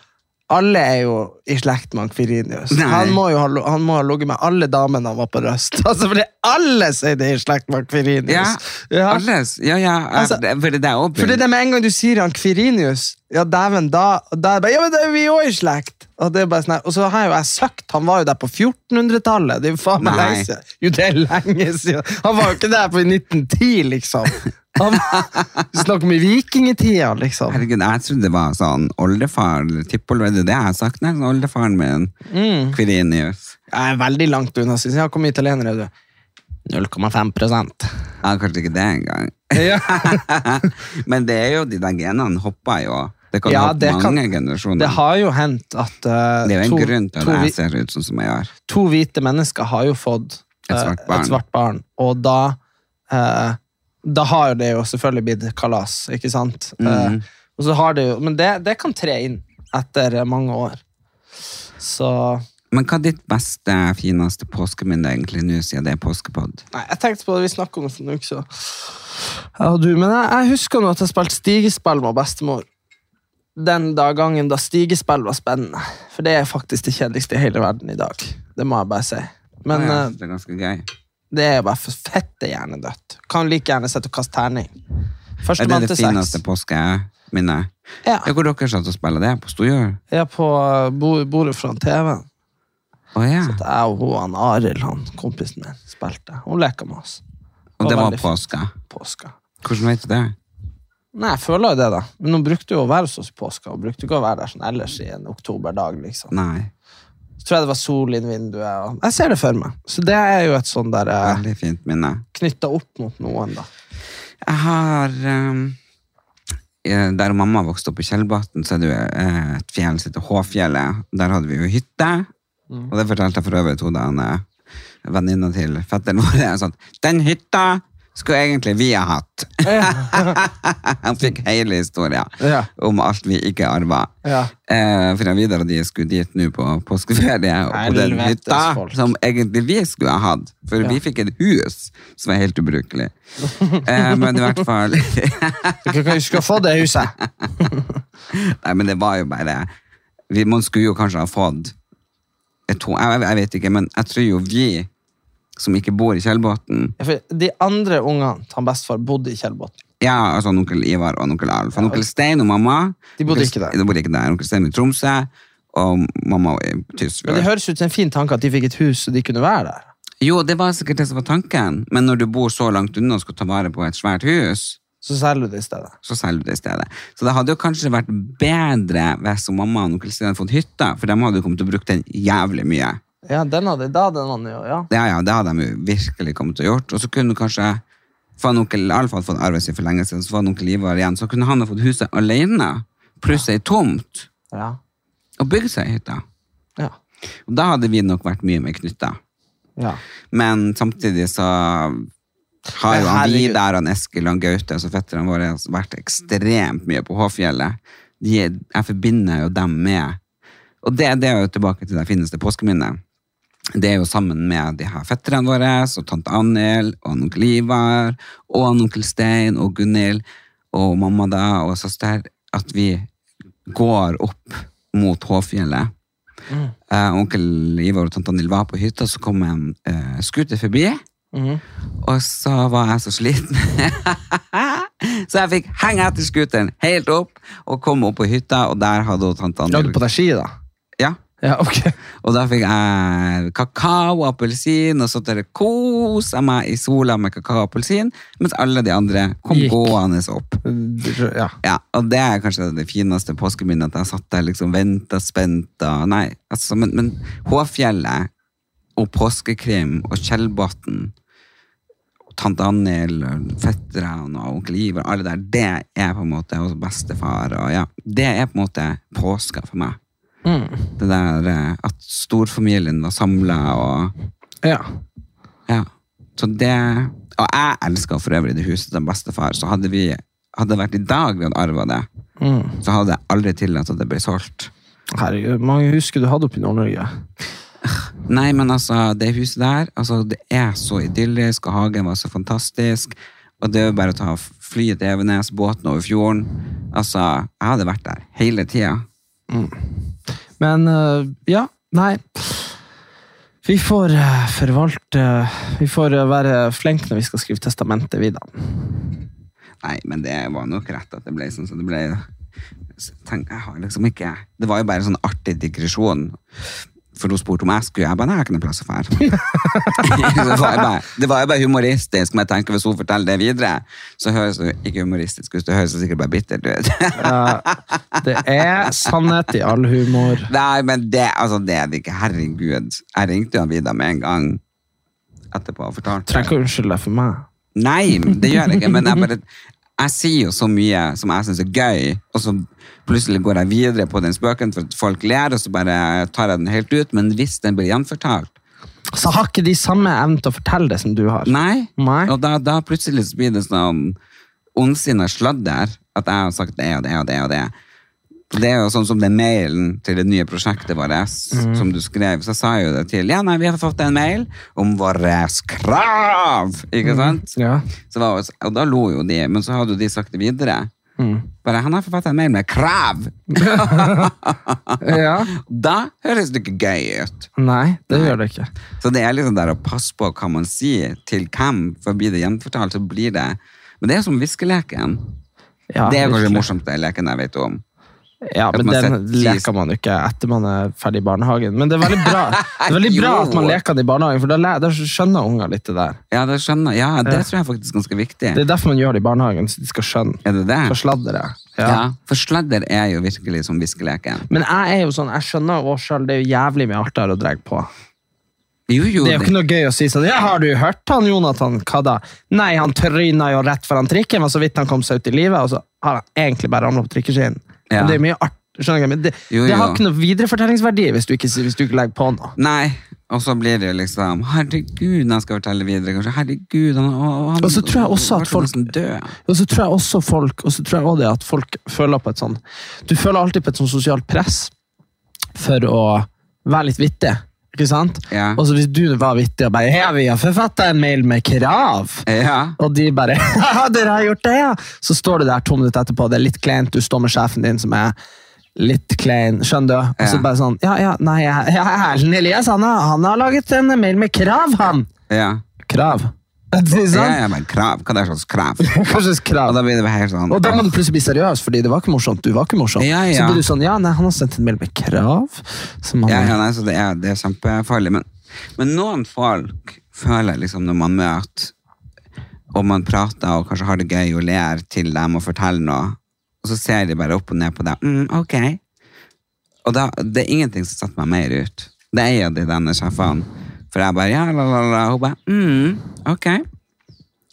B: alle er jo i slekt med Akvirinius.
A: Nei.
B: Han må jo ha, lo- han må ha ligget med alle damene han var på Røst. Altså, fordi alle sier det er i slekt med Akvirinius.
A: Ja, alles. Ja, ja.
B: Altså,
A: jeg- det- fordi det er åpent.
B: Fordi det med en gang du sier han Kvirinius, ja, dæven, da, og da er det bare, ja, men da er vi jo i slekt. Og, det er bare sånn her, og så har jo jeg søkt, han var jo der på 1400-tallet. Det er jo faen meg
A: Nei.
B: lenge siden. Jo, det er lenge siden. Han var jo ikke der på 1910, liksom. Han snakker om i vikingetida, liksom.
A: Herregud, jeg trodde det var sånn oldefar eller tippoldefar. Det er det jeg har sagt. Nei, sånn oldefaren min.
B: Mm.
A: Quirinius.
B: Jeg er veldig langt unna, syns jeg. Hvor mye italiener er du? 0,5
A: Ja, kanskje ikke det engang.
B: ja.
A: Men det er jo de der genene hopper jo. Det kan
B: Ja,
A: hoppe
B: det kan-
A: mange generasjoner.
B: Det
A: Det,
B: har jo hendt at eh,
A: er jo en
B: to,
A: grunn til
B: to,
A: at
B: vi-
A: jeg ser ut sånn som jeg gjør.
B: to hvite mennesker har jo fått
A: Et
B: eh,
A: svart barn.
B: et svart barn. Og da eh, Da har det jo selvfølgelig blitt kalas, ikke sant? Eh,
A: Mhm.
B: og så har det jo, men det, det kan tre inn etter eh, mange år. Så
A: Men hva er ditt beste, fineste påskemynde egentlig nå, siden det er påskepod?
B: Nei, jeg tenkte på det, vi snakket om det for en uke siden. Ja, du, men jeg, jeg husker nå at jeg spilte stigespill med bestemor. Den da gangen da stigespill var spennende. For det er faktisk det kjedeligste i hele verden i dag. Det må jeg bare si. Men
A: Å ja,
B: eh,
A: det er ganske gøy.
B: det er bare for fette hjernedødt. Kan like gjerne sette og kaste terning.
A: Er det
B: Førstemann
A: det
B: til seks.
A: fineste påskeminnet?
B: Ja,
A: Ja, hvor dere satt og spilte det? På Storjord?
B: jeg er på eh, bo- bordet foran TV-en.
A: Å ja.
B: Så at jeg og hun, han Arild, han kompisen min, spilte. Hun leker med oss.
A: Og det var
B: veldig
A: påske.
B: fint. Påska.
A: Hvordan vet du det?
B: Nei, jeg føler jo det, da. Men hun brukte jo å være hos oss i påska. Hun brukte ikke å være der sånn ellers i en oktoberdag, liksom.
A: Nei.
B: Så tror jeg det var sol inn vinduet. Og... Jeg ser det for meg. Så det er jo et sånn der eh,
A: Veldig fint minne.
B: knytta opp mot noen, da.
A: Jeg har ehm, eh, Der mamma vokste opp i Kjellbotn, så er det jo eh, et fjell som heter Håfjellet. Der hadde vi jo hytte.
B: Mm.
A: Og det fortalte jeg for øvrig to dager eh, venninna til fetteren vår. Sånn, Den hytta skulle egentlig vi ha hatt! Han fikk hele historia
B: Ja.
A: om alt vi ikke arva.
B: Ja.
A: Eh, for Vidar og de skulle dit nå på påskeferie, og på den
B: Helvetes
A: hytta
B: folk.
A: som egentlig vi skulle ha hatt. For vi fikk et hus som var helt ubrukelig. eh, men i hvert fall
B: Dere kan huske å få det huset.
A: Nei, men det var jo bare vi, Man skulle jo kanskje ha fått et to, jeg, jeg vet ikke, men jeg tror jo vi som ikke bor i Kjellbotn
B: Ja, for De andre ungene til han bestefar bodde i Kjellbotn.
A: Ja, altså han onkel Ivar og han onkel Alf. Han onkel Stein og mamma
B: De bodde
A: onkel-
B: ikke der.
A: De bodde ikke der. Onkel Stein i Tromsø, og mamma i Tysfjord.
B: Men det høres ut som en fin tanke at de fikk et hus så de kunne være der.
A: Jo, det var sikkert det som var tanken, men når du bor så langt unna og skal ta vare på et svært hus,
B: Så selger du det i stedet.
A: så selger du det i stedet. Så det hadde jo kanskje vært bedre hvis hun mamma og onkel Stein hadde fått hytta, for de hadde jo kommet til å bruke den jævlig mye.
B: Ja, den hadde, da hadde han jo, ja.
A: Ja, ja, det hadde de jo virkelig kommet til å gjort. Og så kunne kanskje for han onkel Alf hadde fått arven sin for lenge siden, så var han onkel Ivar igjen, så kunne han ha fått huset alene, pluss ei tomt,
B: Ja.
A: og bygd seg hytta.
B: Ja.
A: Og da hadde vi nok vært mye mer knytta.
B: ja.
A: Men samtidig så har jo
B: Men
A: han
B: herregud.
A: Vidar, han Eskil, han Gaute altså og fetterne våre har vært ekstremt mye på Håfjellet. De, jeg forbinder jo dem med Og det, det er jo tilbake til det fineste påskeminnet. Det er jo sammen med de her fetterne våre, og tante Annild, og onkel Ivar, og onkel Stein, og Gunhild, og mamma da, og søster, at vi går opp mot Håfjellet. Eh, onkel Ivar og tante Annild var på hytta, så kom en eh, scooter forbi.
B: Mhm.
A: Og så var jeg så sliten. så jeg fikk henge etter scooteren helt opp, og kom opp på hytta, og der hadde hun tante
B: La du på
A: Annild
B: deg ski, da?
A: ja.
B: Ja, ok.
A: Og da fikk jeg kakao og appelsin, og så der kosa meg i sola med kakao og appelsin, mens alle de andre kom
B: Gikk.
A: gående opp.
B: Ja.
A: Ja, og det er kanskje det fineste påskeminnet, at jeg satt der liksom ventet, spent, og nei, altså, men, men Håfjellet og påskekrim og Kjellbotn og Tante Annel, fetteren og onkel Iver, alle der, det er på en måte, og bestefar, og ja, det er på en måte påska for meg.
B: Mm.
A: Det der eh, at storfamilien var samlet, og
B: ja.
A: ja. Så det Og jeg elsker for øvrig det huset til bestefar. Så hadde vi hadde det vært i dag vi hadde arva det,
B: Mm.
A: så hadde jeg aldri tillatt at det ble solgt.
B: Herregud, hvor mange husker du hadde oppe i Nord-Norge?
A: Nei, men altså, det huset der altså, Det er så idyllisk, og hagen var så fantastisk. Og det er jo bare å ta flyet til Evenes, båten over fjorden. Altså, jeg hadde vært der hele tida.
B: Men øh, ja, nei. Vi får øh, forvalte Vi får øh, være flinke når vi skal skrive testamentet, vi, da.
A: Nei, men det var nok rett at det ble sånn som det ble. Så tenk, jeg har liksom ikke Det var jo bare en sånn artig digresjon. For hun spurte om jeg skulle. Jeg bare, nei, jeg har ikke noen plass å fære. Så sa jeg bare, det var jo bare humoristisk, men jeg tenker hvis hun forteller det videre, så høres det ikke humoristisk ut, det høres det sikkert bare bittert ut.
B: Det er sannhet i all humor.
A: nei, men det, altså, det er det ikke. Herregud. Jeg ringte jo Vida med en gang etterpå og fortalte.
B: Trenger ikke å unnskylde deg for meg.
A: Nei, det gjør jeg ikke, men jeg bare jeg sier jo så mye som jeg syns er gøy, og så plutselig går jeg videre på den spøken for at folk ler, og så bare tar jeg den helt ut. Men hvis den blir gjenfortalt
B: Så har ikke de samme evnen til å fortelle det som du har.
A: Nei.
B: Nei.
A: Og da, da plutselig så blir det sånn ondsinna sladder at jeg har sagt det og det og det. og Det Og Det er jo sånn som den mailen til det nye prosjektet vårt
B: Mm.
A: som du skrev. Så sa jeg jo det til Ja, nei, vi har fått en mail om våre krav! Ikke sant?
B: Mm. Ja.
A: Så var, jo- og da lo jo de, men så hadde jo de sagt det videre.
B: Mm.
A: Bare han har forfattet en mail med krav!
B: Ja.
A: Da høres det ikke gøy ut.
B: Nei, det gjør det ikke.
A: Så det er liksom der å passe på hva man sier til hvem, for blir det gjenfortalt, så blir det Men det er som viskeleken.
B: Ja,
A: det er kanskje
B: virkelig.
A: den morsomste leken jeg vet om.
B: Ja,
A: At
B: men
A: man
B: den
A: setter-
B: leker man jo ikke etter man er ferdig i barnehagen. Men det er veldig bra, det er veldig bra
A: Jo.
B: at man leker det i barnehagen, for da, le- da skjønner unger litt det der.
A: Ja, det skjønner jeg. Ja, det tror jeg faktisk er ganske viktig.
B: Det er derfor man gjør det i barnehagen, så de skal skjønne.
A: Er det det?
B: Så sladder jeg.
A: ja.
B: Ja.
A: For sladder er jo virkelig som viskeleken.
B: Men jeg er jo sånn, jeg skjønner jo selv, det er jo jævlig mye artigere å dreie på.
A: Jo, jo,
B: Det er jo ikke noe gøy å si sånn, ja, har du hørt han, Jonathan? Hva da? Nei, han tryna jo rett foran trikken, men så vidt han kom seg ut i livet, og så har han egentlig bare ramlet på trikkeskien.
A: Ja.
B: Men Det er jo mye art, skjønner jeg, men det,
A: Jo,
B: det har
A: jo.
B: ikke noe viderefortellingsverdi hvis du ikke, hvis du ikke legger på noe.
A: Nei. Og så blir det jo liksom Herregud, han skal fortelle videre, kanskje. Herregud, han, å, han
B: Og så tror jeg også at
A: ble
B: folk-
A: nesten død.
B: Og så tror jeg også folk, og så tror jeg også det at folk føler på et sånn Du føler alltid på et sånn sosialt press for å være litt vittig. Ikke sant?
A: Ja.
B: Og så hvis du var vittig og bare «Ja, vi har forfatta en mail med krav',
A: Ja.
B: og de bare «Ja, dere har gjort det, ja!' Så står du der to minutter etterpå, det er litt kleint, du står med sjefen din som er litt klein, skjønner du? Og så
A: Ja.
B: bare sånn 'Ja, ja, nei, ja, ja, Erlend Elias, han har, han har laget en mail med krav, han!'
A: Ja.
B: Krav. Ikke
A: ja,
B: sant?
A: ja men krav. Hva det er slags krav?
B: Hva slags krav?
A: Og da blir det helt sånn
B: Og da må du plutselig bli seriøs, fordi det var ikke morsomt. Du var ikke morsom.
A: Ja, ja.
B: Så blir du sånn, ja, nei, han har sendt en mail med krav. Som han,
A: Ja, ja nei, så det er, det er kjempefarlig. Men, men noen folk føler liksom når man møter, og man prater og kanskje har det gøy og ler til dem og forteller noe, og så ser de bare opp og ned på deg. Mm, ok. Og da, det er ingenting som setter meg mer ut. Det er jo de denne sjefene. For jeg bare, ja, la, la, la. Hun bare, mm, ok.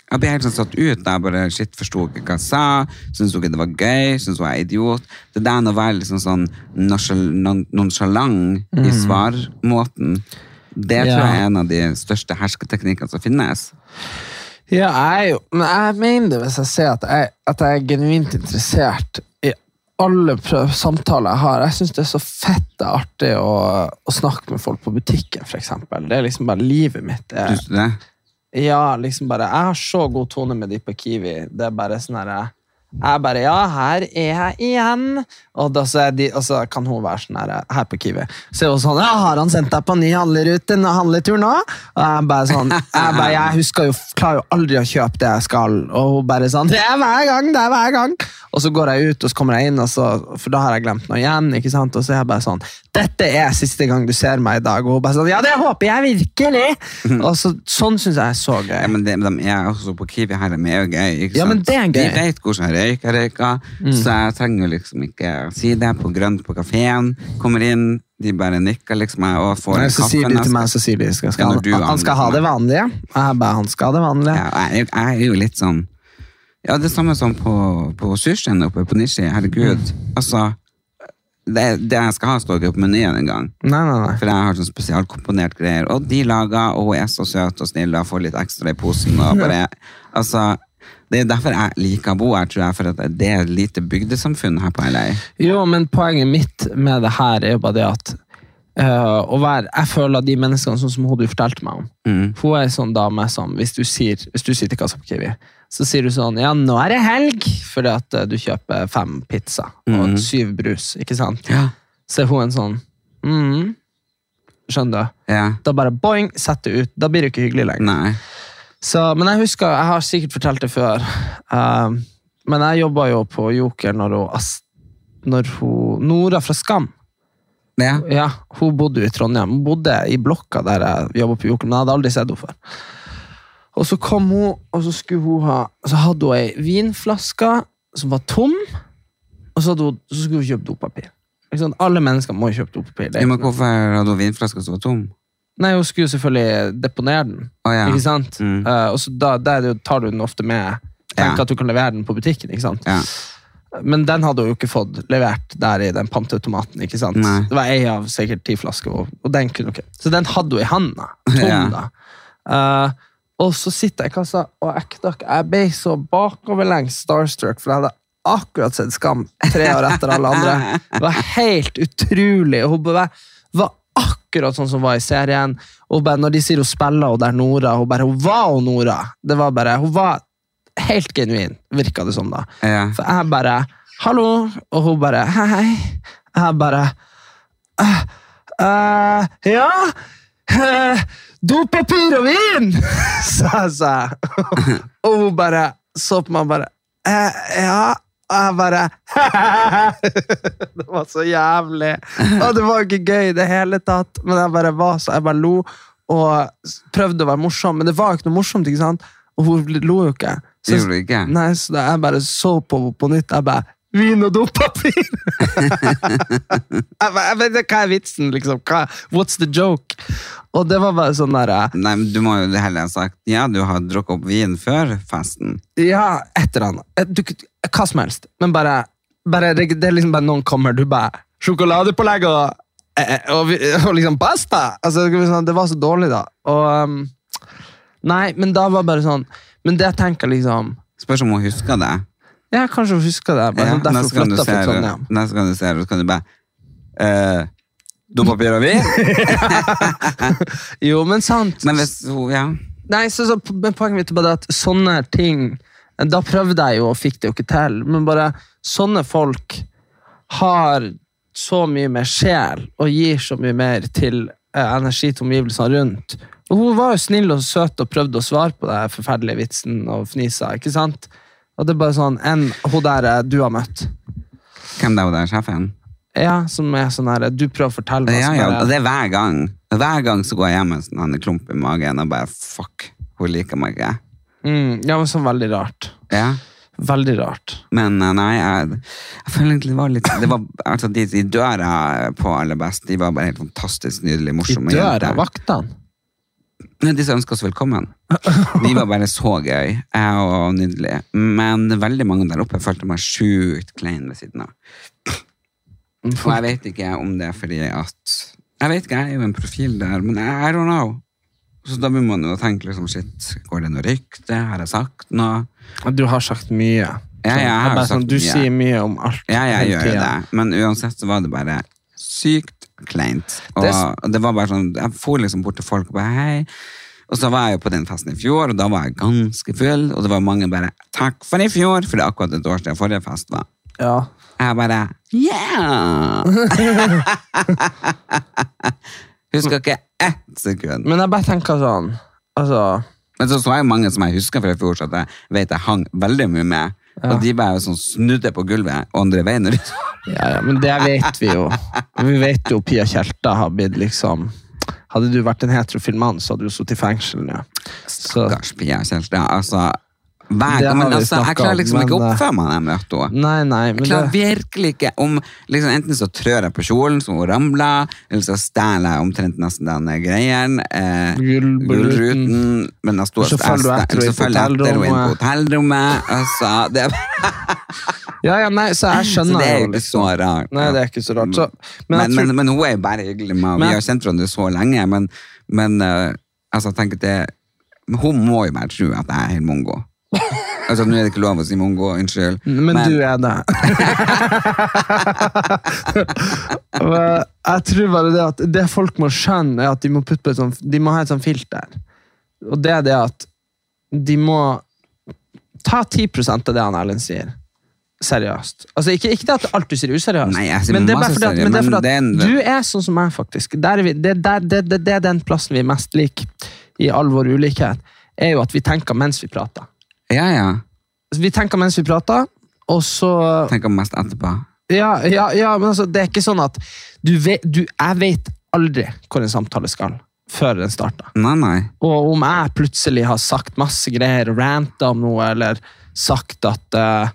A: Jeg ble helt sånn satt ut. da Jeg bare shit, forsto ikke hva jeg sa. Syntes hun ikke det var gøy. Syntes hun jeg er idiot. Det der med å være liksom sånn nonsjal- non- nonsjalant i svarmåten, det
B: Ja.
A: tror jeg er en av de største hersketeknikkene som finnes.
B: Ja, jeg er jo Men jeg mener det hvis jeg ser at jeg, at jeg er genuint interessert i alle prøv, samtaler jeg har. Jeg syns det er så fett og artig å, å snakke med folk på butikken, f.eks. Det er liksom bare livet mitt. Det er,
A: Syns du det?
B: Ja, liksom bare Jeg har så god tone med de på Kiwi. Det er bare sånn herre jeg bare Ja, her er jeg igjen! Og, da, så er de, og så kan hun være sånn her, her på Kiwi. Så er hun sånn Ja, har han sendt deg på ny handlerute og handletur nå? Og jeg bare sånn Jeg bare, jeg husker jo, klarer jo aldri å kjøpe det jeg skal. Og hun bare sånn Det er hver gang! Det er hver gang! Og så går jeg ut, og så kommer jeg inn, og så, for da har jeg glemt noe igjen. ikke sant? Og så er jeg bare sånn Dette er siste gang du ser meg i dag. Og hun bare sånn Ja, det håper jeg virkelig! Og så, Sånn syns jeg er så gøy.
A: Mhm. Ja, men de, de er også på Kiwi her, de er jo gøy. Ikke sant?
B: Ja, men det er gøy. Mm.
A: De vet hvordan jeg røyker, røyker så jeg trenger jo liksom ikke si det på grønt på kafeen. Kommer inn, de bare nikker liksom, og får
B: Nei,
A: en
B: så
A: kaffe.
B: sier de til
A: nesten.
B: meg, så sier de skal,
A: Ja,
B: skal,
A: når du
B: han,
A: er
B: han skal ha det vanlige. Og jeg bare, han skal ha det vanlige.
A: Ja, og jeg, jeg er jo litt sånn Ja, det samme som på, på sushien oppe på Nishi. Herregud.
B: Mm.
A: Altså, det, det jeg skal ha, står ikke på menyen engang.
B: Nei, nei, nei.
A: For jeg har sånn spesialkomponert greier. Og de lager, og hun er så søt og snill, og jeg får litt ekstra i posen. Og bare, altså, det er derfor jeg liker å bo her, tror jeg. For at det er et lite bygdesamfunn her på LA.
B: Jo, men poenget mitt med det her er jo bare det at øh, å være, Jeg føler de menneskene sånn som hun du fortalte meg om. Hun er en sånn dame som hvis du sier hvis du sitter i kassa på Kiwi, så sier du sånn Ja, nå er det helg! Fordi at øh, du kjøper fem pizza og syv brus, ikke sant?
A: Mhm. Ja.
B: Så er hun en sånn mm, Skjønner du?
A: Ja.
B: Da bare boing, sett det ut. Da blir det ikke hyggelig lenger.
A: Nei.
B: Så, men jeg husker, jeg har sikkert fortalt det før, ehm, men jeg jobba jo på Joker når, hun, Ast- når hun, Nora fra Skam
A: Det?
B: Ja, hun bodde jo i Trondheim. Hun bodde i blokka der jeg jobba på Jokel, men jeg hadde aldri sett henne før. Og så kom hun, og så skulle hun ha Så hadde hun ei vinflaske som var tom, og så, hadde hun, så skulle hun kjøpe dopapir. Ikke sant? Alle mennesker må jo kjøpe dopapir. Det er
A: Jo,
B: ikke
A: men hvorfor hadde hun vinflaska som var tom?
B: noe- Nei, hun skulle selvfølgelig deponere den,
A: Å ja.
B: ikke sant?
A: Mm.
B: Eh, og så da, der er det jo- tar du den ofte med. Tenk
A: Ja.
B: at du kan levere den på butikken, ikke sant?
A: Ja.
B: Men den hadde hun jo ikke fått levert der i den panteautomaten. ikke sant?
A: Nei.
B: Det var ei av sikkert ti flasker, og, og den kunne hun ikke. Så den hadde hun i handa. Tom,
A: Ja.
B: da. Eh, og så sitter jeg i kassa, og ekte ikke, jeg ble så bakoverlengs starstruck, for jeg hadde akkurat sett Skam tre år etter alle andre. Det var helt utrolig. og Hun bare var akkurat sånn som hun var i serien. Og bare, når de sier hun spiller, og det er Nora, hun bare, hun var hun Nora. Det var bare, hun var helt genuin, virka det som da.
A: Ja.
B: For jeg bare 'hallo', og hun bare 'hei'. Jeg bare «Eh, eh, 'Ja? eh, dopapir og vin!' sa jeg, sa jeg. Og hun bare så på meg og bare «Eh, 'Ja?' Og jeg bare Det var så jævlig. Og det var ikke gøy i det hele tatt. Men jeg bare var så, jeg bare lo og s- prøvde å være morsom, men det var jo ikke noe morsomt. ikke sant? Og hun lo jo ikke.
A: Det gjorde du ikke?
B: Nei, så da jeg bare så på henne på nytt. Jeg bare Vin og dopapir! jeg bare, jeg vet, ikke, hva er vitsen, liksom? Hva, what's the joke? Og det var bare sånn derre
A: Nei, men du må jo heller ha sagt ja, du har drukket opp vin før festen.
B: Ja, et eller annet. Eh, Du, hva som helst. Men bare, bare Det det er liksom bare noen kommer, du bare Sjokoladepålegg og, eh, og, vi- og liksom pasta! Altså, det var sånn- det var så dårlig, da. Og um, Nei, men da var bare sånn Men det jeg tenker liksom
A: Spørs om hun husker det.
B: Ja, kanskje hun husker det. Bare,
A: Ja,
B: sånn, derfor
A: neste, gang du
B: flytta fra
A: ser,
B: Trondheim.
A: neste gang du ser henne, så kan du bare eh, Dopapir og vin?
B: Jo, men sant.
A: Men hvis hun Ja.
B: Nei, så, så, men Poenget mitt er bare at sånne ting Da prøvde jeg jo og fikk det jo ikke til, men bare sånne folk har så mye mer sjel og gir så mye mer til eh, energi til omgivelsene rundt. Og hun var jo snill og søt og prøvde å svare på den forferdelige vitsen og fnisa. ikke sant? Og det er bare sånn enn hun der eh, du har møtt.
A: Hvem det er hun der sjefen?
B: Ja, som er sånn her Du prøver å fortelle meg.
A: Ja,
B: så
A: ja,
B: bare-
A: og det er hver gang. Hver gang så går jeg hjem med en sånn klump i magen og bare fuck, hun liker meg ikke.
B: mm, ja, men sånn veldig rart.
A: Ja.
B: Veldig rart.
A: Men eh, nei, jeg, jeg føler egentlig det var litt det var, altså, de, de døra på aller best, de var bare helt fantastisk nydelige,
B: I
A: morsomme
B: døra, vaktene.
A: Nei, De som ønska oss velkommen. De var bare så gøy eh, og nydelige. Men veldig mange der oppe følte meg sjukt klein ved siden av. Og jeg vet ikke om det er fordi at Jeg vet ikke, jeg er jo en profil der, men I don't know. Så da begynner man jo å tenke liksom, shit, går det noe rykte? Har jeg sagt noe?
B: Du har sagt mye.
A: Ja, jeg har
B: bare
A: sagt
B: sånn, du
A: mye.
B: sier mye om alt.
A: Ja, jeg
B: hele
A: gjør jo
B: tiden.
A: det. Men uansett så var det bare sykt kleint. Og
B: Det
A: det var bare sånn, jeg for liksom bort til folk og bare hei. Og så var jeg jo på den festen i fjor, og da var jeg ganske full. Og det var mange bare takk for i fjor, for det er akkurat et år siden forrige fest var.
B: Ja.
A: Jeg bare yeah! Husker ikke ett sekund.
B: Men jeg bare tenker sånn Altså
A: Men så så jeg mange som jeg husker fra i fjor, så at jeg vet jeg hang veldig mye med. Og de bare sånn snudde på gulvet og andre veien. rundt.
B: ja, ja, Men det vet vi jo. Vi vet jo Pia Tjelta har blitt liksom Hadde du vært en heterofil mann, så hadde du sittet i fengsel nå. Så
A: Stakkars Pia Kjelstad. Altså, hver,
B: Det har
A: gang- men,
B: vi
A: altså, jeg
B: snakket
A: klarer
B: om,
A: liksom ikke
B: men,
A: å
B: eh,
A: oppføre meg når jeg møter henne.
B: Nei, nei, men
A: Jeg klarer
B: det,
A: virkelig ikke om, liksom, Enten så trør jeg på kjolen som hun ramla, eller så stjeler jeg omtrent nesten den greien. Eh,
B: Gullruten.
A: gullruten, Men jeg står
B: Og så følger du etter
A: jeg-
B: henne
A: så følger jeg etter henne inn på hotellrommet. Altså, det,
B: ja, ja, nei, så jeg
A: så
B: skjønner
A: det er jo
B: jo liksom-
A: ikke så rart.
B: Nei, det er ikke så rart. Så, men,
A: Men,
B: jeg tror,
A: men, men hun er jo bare hyggelig med, og
B: Men-
A: vi har kjent hverandre så lenge, men, men eh, altså, jeg tenker det, hun må jo bare tro at jeg er helt mongo. Altså, nå er det ikke lov å si mongo, unnskyld.
B: men, du er det. Men jeg tror bare det at det folk må skjønne, er at de må, putte på et sånt, de må ha et sånt filter. Og det er det at de må ta 10 av det han Erlend sier. Seriøst. Altså, ikke, ikke det at alt du sier er useriøst,
A: Nei, jeg sier
B: men det er bare
A: masse
B: fordi at,
A: seriøst,
B: men det er
A: men
B: fordi at
A: det er en-
B: du er sånn som meg, faktisk. Der er vi, det, der, det, det, det er den plassen vi er mest lik i all vår ulikhet, er jo at vi tenker mens vi prater. Altså,
A: Ja, ja.
B: Vi tenker mens vi prater, og så
A: Tenker mest etterpå.
B: Ja, ja, ja, men altså, det er ikke sånn at du vet, du, Jeg vet aldri hvor en samtale skal før den starter.
A: Nei, nei.
B: Og om jeg plutselig har sagt masse greier, ranta om noe, eller sagt at eh,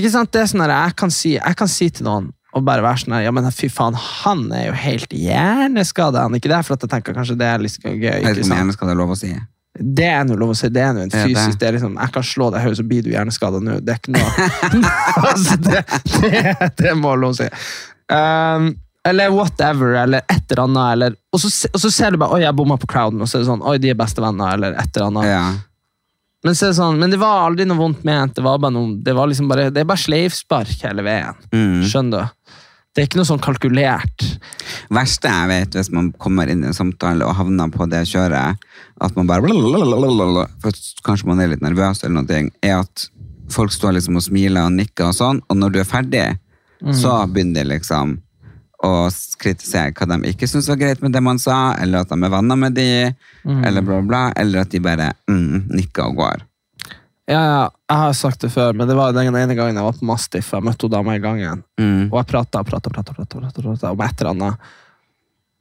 B: Ikke sant? Det er sånn her, jeg, kan si, jeg kan si til noen og bare være sånn her, ja, men fy faen, han er jo helt hjerneskada. Han er ikke det, for at jeg tenker kanskje det er litt gøy.
A: Jeg vet
B: Ikke
A: ikke om jeg
B: sant?
A: elsker det er lov å si.
B: Det er nå lov å si. Det er nå en
A: Ja, det.
B: fysisk det er liksom, Jeg kan slå deg i hodet, så blir du hjerneskada nå. Det er ikke noe altså, det, det, det må lov å si. Um, eller whatever, eller et eller annet. Eller, og, så, se- og så ser du bare Oi, jeg bomma på crowden, og så er det sånn Oi, de er bestevenner, eller et eller annet.
A: Ja.
B: Men, så er det sånn, men det var aldri noe vondt ment. Det var bare noe, det var liksom bare, det er bare sleivspark hele veien.
A: Mm.
B: Skjønner du? Det er ikke noe sånn kalkulert.
A: verste jeg vet hvis man kommer inn i en samtale og havner på det kjøret, at man bare blablabla, for kanskje man er litt nervøs eller noe, er at folk står liksom og smiler og nikker og sånn, og når du er ferdig, Mm,
B: Mm.
A: så begynner de liksom å s- kritisere hva de ikke synes var greit med det man sa, eller at de er venner med de,
B: Mm,
A: eller bla bla, bla, eller at de bare mm, nikker og går.
B: Ja, ja, jeg har sagt det før, men det var den ene gangen jeg var på Mastiff. Jeg møtte hun dama i gangen,
A: Mm.
B: og jeg prata og prata om et eller annet.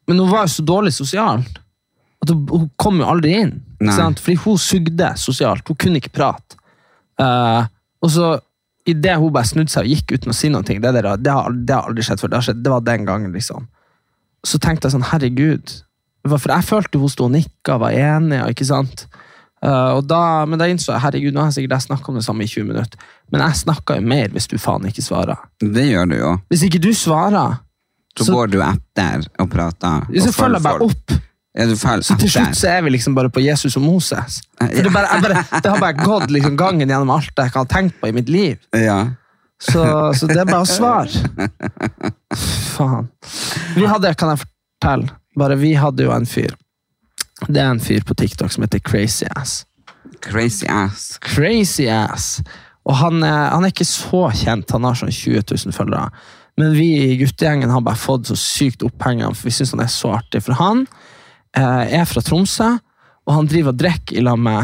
B: Men hun var jo så dårlig sosialt. At hun, hun kom jo aldri inn.
A: Nei.
B: Ikke sant? Fordi hun sugde sosialt. Hun kunne ikke prate. Eh, og så Idet hun bare snudde seg og gikk uten å si noe, det, der, det, har, det har aldri skjedd før. Det, har skjedd, det var den gangen, liksom. Så tenkte jeg sånn, herregud. Det var- For jeg følte hun sto og nikka, var enig, og ikke sant. Eh, og da, men da innså jeg herregud, nå har jeg sikkert snakka om det samme i 20 minutter. Men jeg snakka jo mer hvis du faen ikke svarer.
A: Det gjør du jo.
B: Hvis ikke du svarer,
A: Så,
B: Så-
A: går du etter og prater. og
B: så følger jeg bare
A: folk.
B: opp.
A: Ja, du følger
B: Så
A: etter.
B: til slutt så er vi liksom bare på Jesus og Moses. For
A: Ja.
B: det, bare, jeg bare, det har bare gått liksom gangen gjennom alt jeg ikke har tenkt på i mitt liv.
A: Ja.
B: Så, så det er bare å svare. Faen. Vi hadde, kan jeg fortelle, bare vi hadde jo en fyr. Det er en fyr på TikTok som heter Crazy Ass.
A: Crazy ass.
B: Crazy Ass! Og han er, han er ikke så kjent, han har sånn 20 000 følgere. Men vi i guttegjengen har bare fått så sykt oppheng av ham, for vi syns han er så artig. For han eh, er fra Tromsø, og han driver og drikker i lag med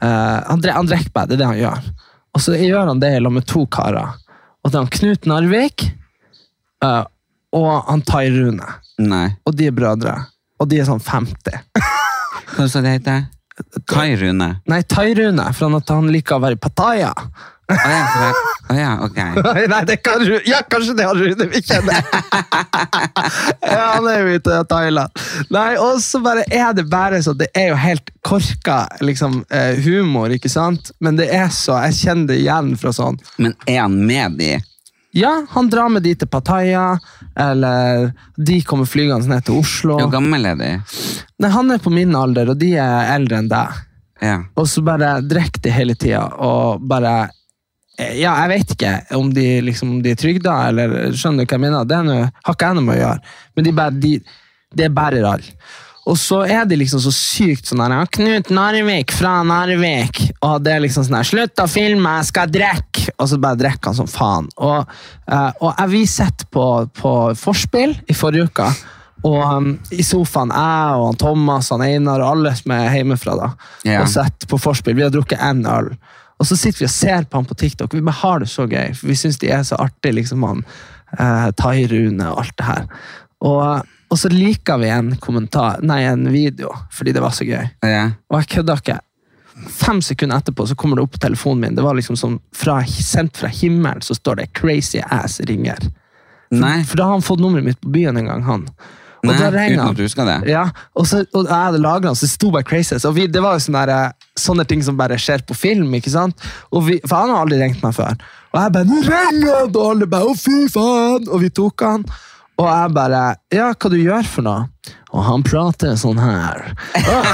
B: eh, Han dre- han drikker bare, det er det han gjør. Og så gjør han det i lag med to karer. Og det er han Knut Narvik eh, og han Tai Rune.
A: Nei.
B: Og de er brødre. Og de er sånn 50.
A: Hva sa det heter? Kai Rune.
B: Nei, Tai Rune, for han, han liker å være i Pattaya.
A: Å ja, for- å ja, ok.
B: Nei, nei, det kan Ru- Ja, kanskje det har Rune vi kjenner. ja, han er jo ute i Thailand. Nei, og så bare er det bare sånn Det er jo helt korka liksom, eh, humor, ikke sant? Men det er så Jeg kjenner det igjen fra sånn
A: Men er han med de?
B: Ja, han drar med de til Pattaya, eller de kommer flygende ned til Oslo.
A: Hvor gammel er de?
B: Nei, han er på min alder, og de er eldre enn deg.
A: Ja.
B: Og så bare drikker de hele tida, og bare eh, Ja, jeg vet ikke om de, liksom, om de er trygda, eller skjønner du hva jeg mener? Det er noe, har ikke jeg noe med å gjøre, men de bare, de, det bærer all. Og så er de liksom så sykt sånn her «Ja, Knut Narvik fra Narvik. Og det er liksom sånn her Slutt å filme, jeg skal drikke! Og så bare drikker han som faen. Og, eh, og jeg, vi sitter på, på Forspill i forrige uke, og um, i sofaen jeg og han Thomas han Einar og alle som er hjemmefra, da.
A: Ja.
B: Og så sett på forspill. Vi har drukket én øl. Og så sitter vi og ser på han på TikTok. Vi bare har det så gøy, for vi syns de er så artige, liksom han eh, Tai Rune og alt det her. Og, og så liker vi en kommentar, nei, en video, fordi det var så gøy.
A: ja.
B: Og jeg kødder ikke. Fem sekunder etterpå så kommer det opp på telefonen min. Det var liksom som fra, sendt fra himmelen, så står det 'Crazy Ass ringer'.
A: Nei.
B: For da har han fått nummeret mitt på byen en gang, han. Og
A: Nei,
B: da ringer
A: uten
B: han.
A: at du husker det.
B: Ja, og, så, og jeg hadde laget den, så det sto bare crazy. Og vi, det var jo sånne, der, eh, sånne ting som bare skjer på film, ikke sant? Og vi, for han har aldri ringt meg før. Og jeg bare, nå ringer han, og alle bare, å fy faen! Og vi tok han. Og jeg bare, ja, hva du gjør for noe? Og han prater sånn her. Og,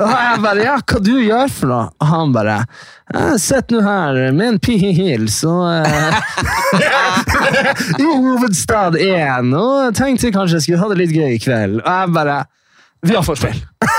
B: og jeg bare, ja, hva du gjør for noe? Og han bare, «Jeg sitter nå her med en pils, og eh, i hovedstad 1, og jeg tenkte kanskje jeg skulle ha det litt gøy i kveld. Og jeg bare Vi har forspill!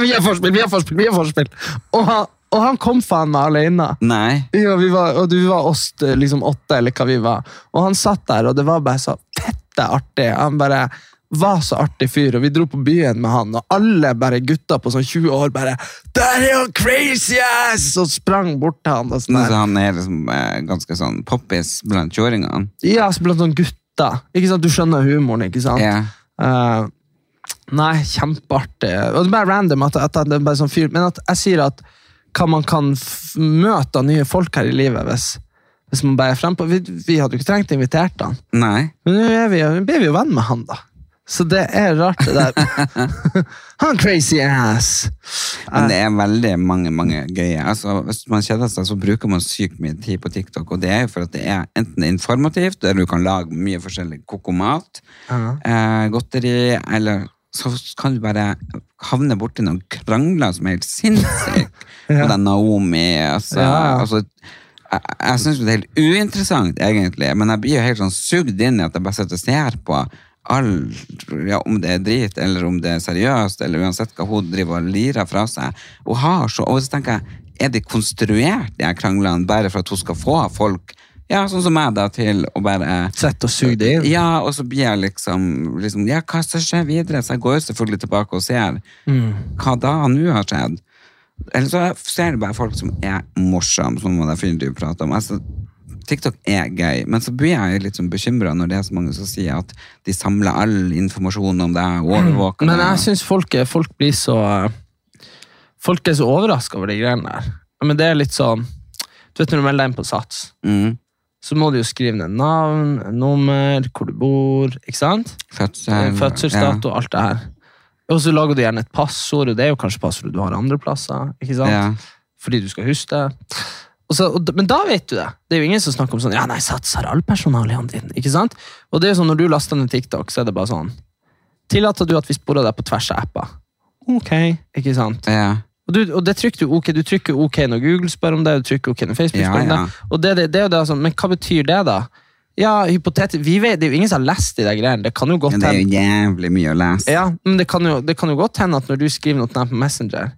B: vi har forspill, vi har forspill! vi har forspill. Og han, og han kom faen meg alene.
A: Nei.
B: Ja, vi var, og du var oss t- liksom åtte, eller hva vi var. Og han satt der, og det var bare så fette artig. Han bare var så artig fyr, og vi dro på byen med han, og alle bare gutta på sånn 20 år bare Der er han crazy ass! Og sprang bort til han. og sånn
A: Men
B: der.
A: så han er liksom eh, ganske sånn poppis blant kjøringene.
B: Ja, altså blant sånne gutter. Ikke sant? Du skjønner humoren, ikke sant?
A: Ja.
B: Eh, nei, kjempeartig. Og det er bare random at, at det er bare sånn fyr. Men at jeg sier at hva man kan f møte av nye folk her i livet hvis, hvis man bare er frem på. Vi, vi hadde jo ikke trengt å invitere han.
A: Nei.
B: Men nå er vi, nå blir vi jo venn med han, da. Så det er rart, det der. han crazy ass!
A: Men det er veldig mange mange gøye. Altså, hvis man kjeder seg, så bruker man sykt mye tid på TikTok. Og det er jo for at det er enten informativt, der du kan lage mye forskjellig kokomat,
B: Ja.
A: eh, godteri, eller så kan du bare havne borti noen krangler som er helt sinnssyke.
B: Ja.
A: Og den Naomi altså,
B: Ja, ja.
A: altså, Jeg, jeg syns det er helt uinteressant, egentlig, men jeg blir jo helt sånn sugd inn i at jeg bare sitter og ser på. All, ja, om det er drit, eller om det er seriøst, eller uansett hva hun driver og lirer fra seg. Og har så, og så tenker jeg, er det konstruert, de her kranglene, bare for at hun skal få folk, ja, sånn som meg da, til å bare
B: Sett og sug det inn.
A: ja, og så blir jeg liksom, liksom Ja, hva som skjer videre? Så jeg går jo selvfølgelig tilbake og ser
B: Mm.
A: hva da nå har skjedd. Eller så ser jeg bare folk som er morsomme, som det fyren du prater om. Altså, TikTok er gøy, men så blir jeg litt sånn bekymra når det er så mange som sier at de samler all informasjon om deg og overvåker
B: Mm. Men jeg
A: deg.
B: syns folk, er- folk blir så Folk er så overraska over de greiene der. Men det er litt sånn Du vet når du melder deg inn på Sats,
A: Mm.
B: så må du jo skrive ned navn, nummer, hvor du bor, ikke sant? Eh,
A: Fødsel.
B: Fødselsdato, alt det her. Og så lager du gjerne et passord, og det er jo kanskje passord du har andre plasser. ikke sant?
A: Ja. ja.
B: fordi du skal huske det. Og så, og, d- men da vet du det. Det er jo ingen som snakker om sånn Ja, nei, Sats har all personalien din. Ikke sant? Og det er jo sånn, Når du laster ned TikTok, så er det bare sånn Tillater du at vi sporer deg på tvers av apper? Ok. Ikke sant?
A: ja.
B: Og, du, og det trykker du ok. Du trykker ok når Google spør om det, du trykker ok når Facebook
A: Ja,
B: spør om
A: ja.
B: det. Og det, det, det er jo det, sånn, Men hva betyr det, da? Ja, hypotetisk vi vet, Det er jo ingen som har lest de der greiene. Det kan jo godt
A: Men det er
B: hende
A: jo jævlig mye å lese.
B: ja, men det kan, jo, det kan jo godt hende at når du skriver noe til dem på Messenger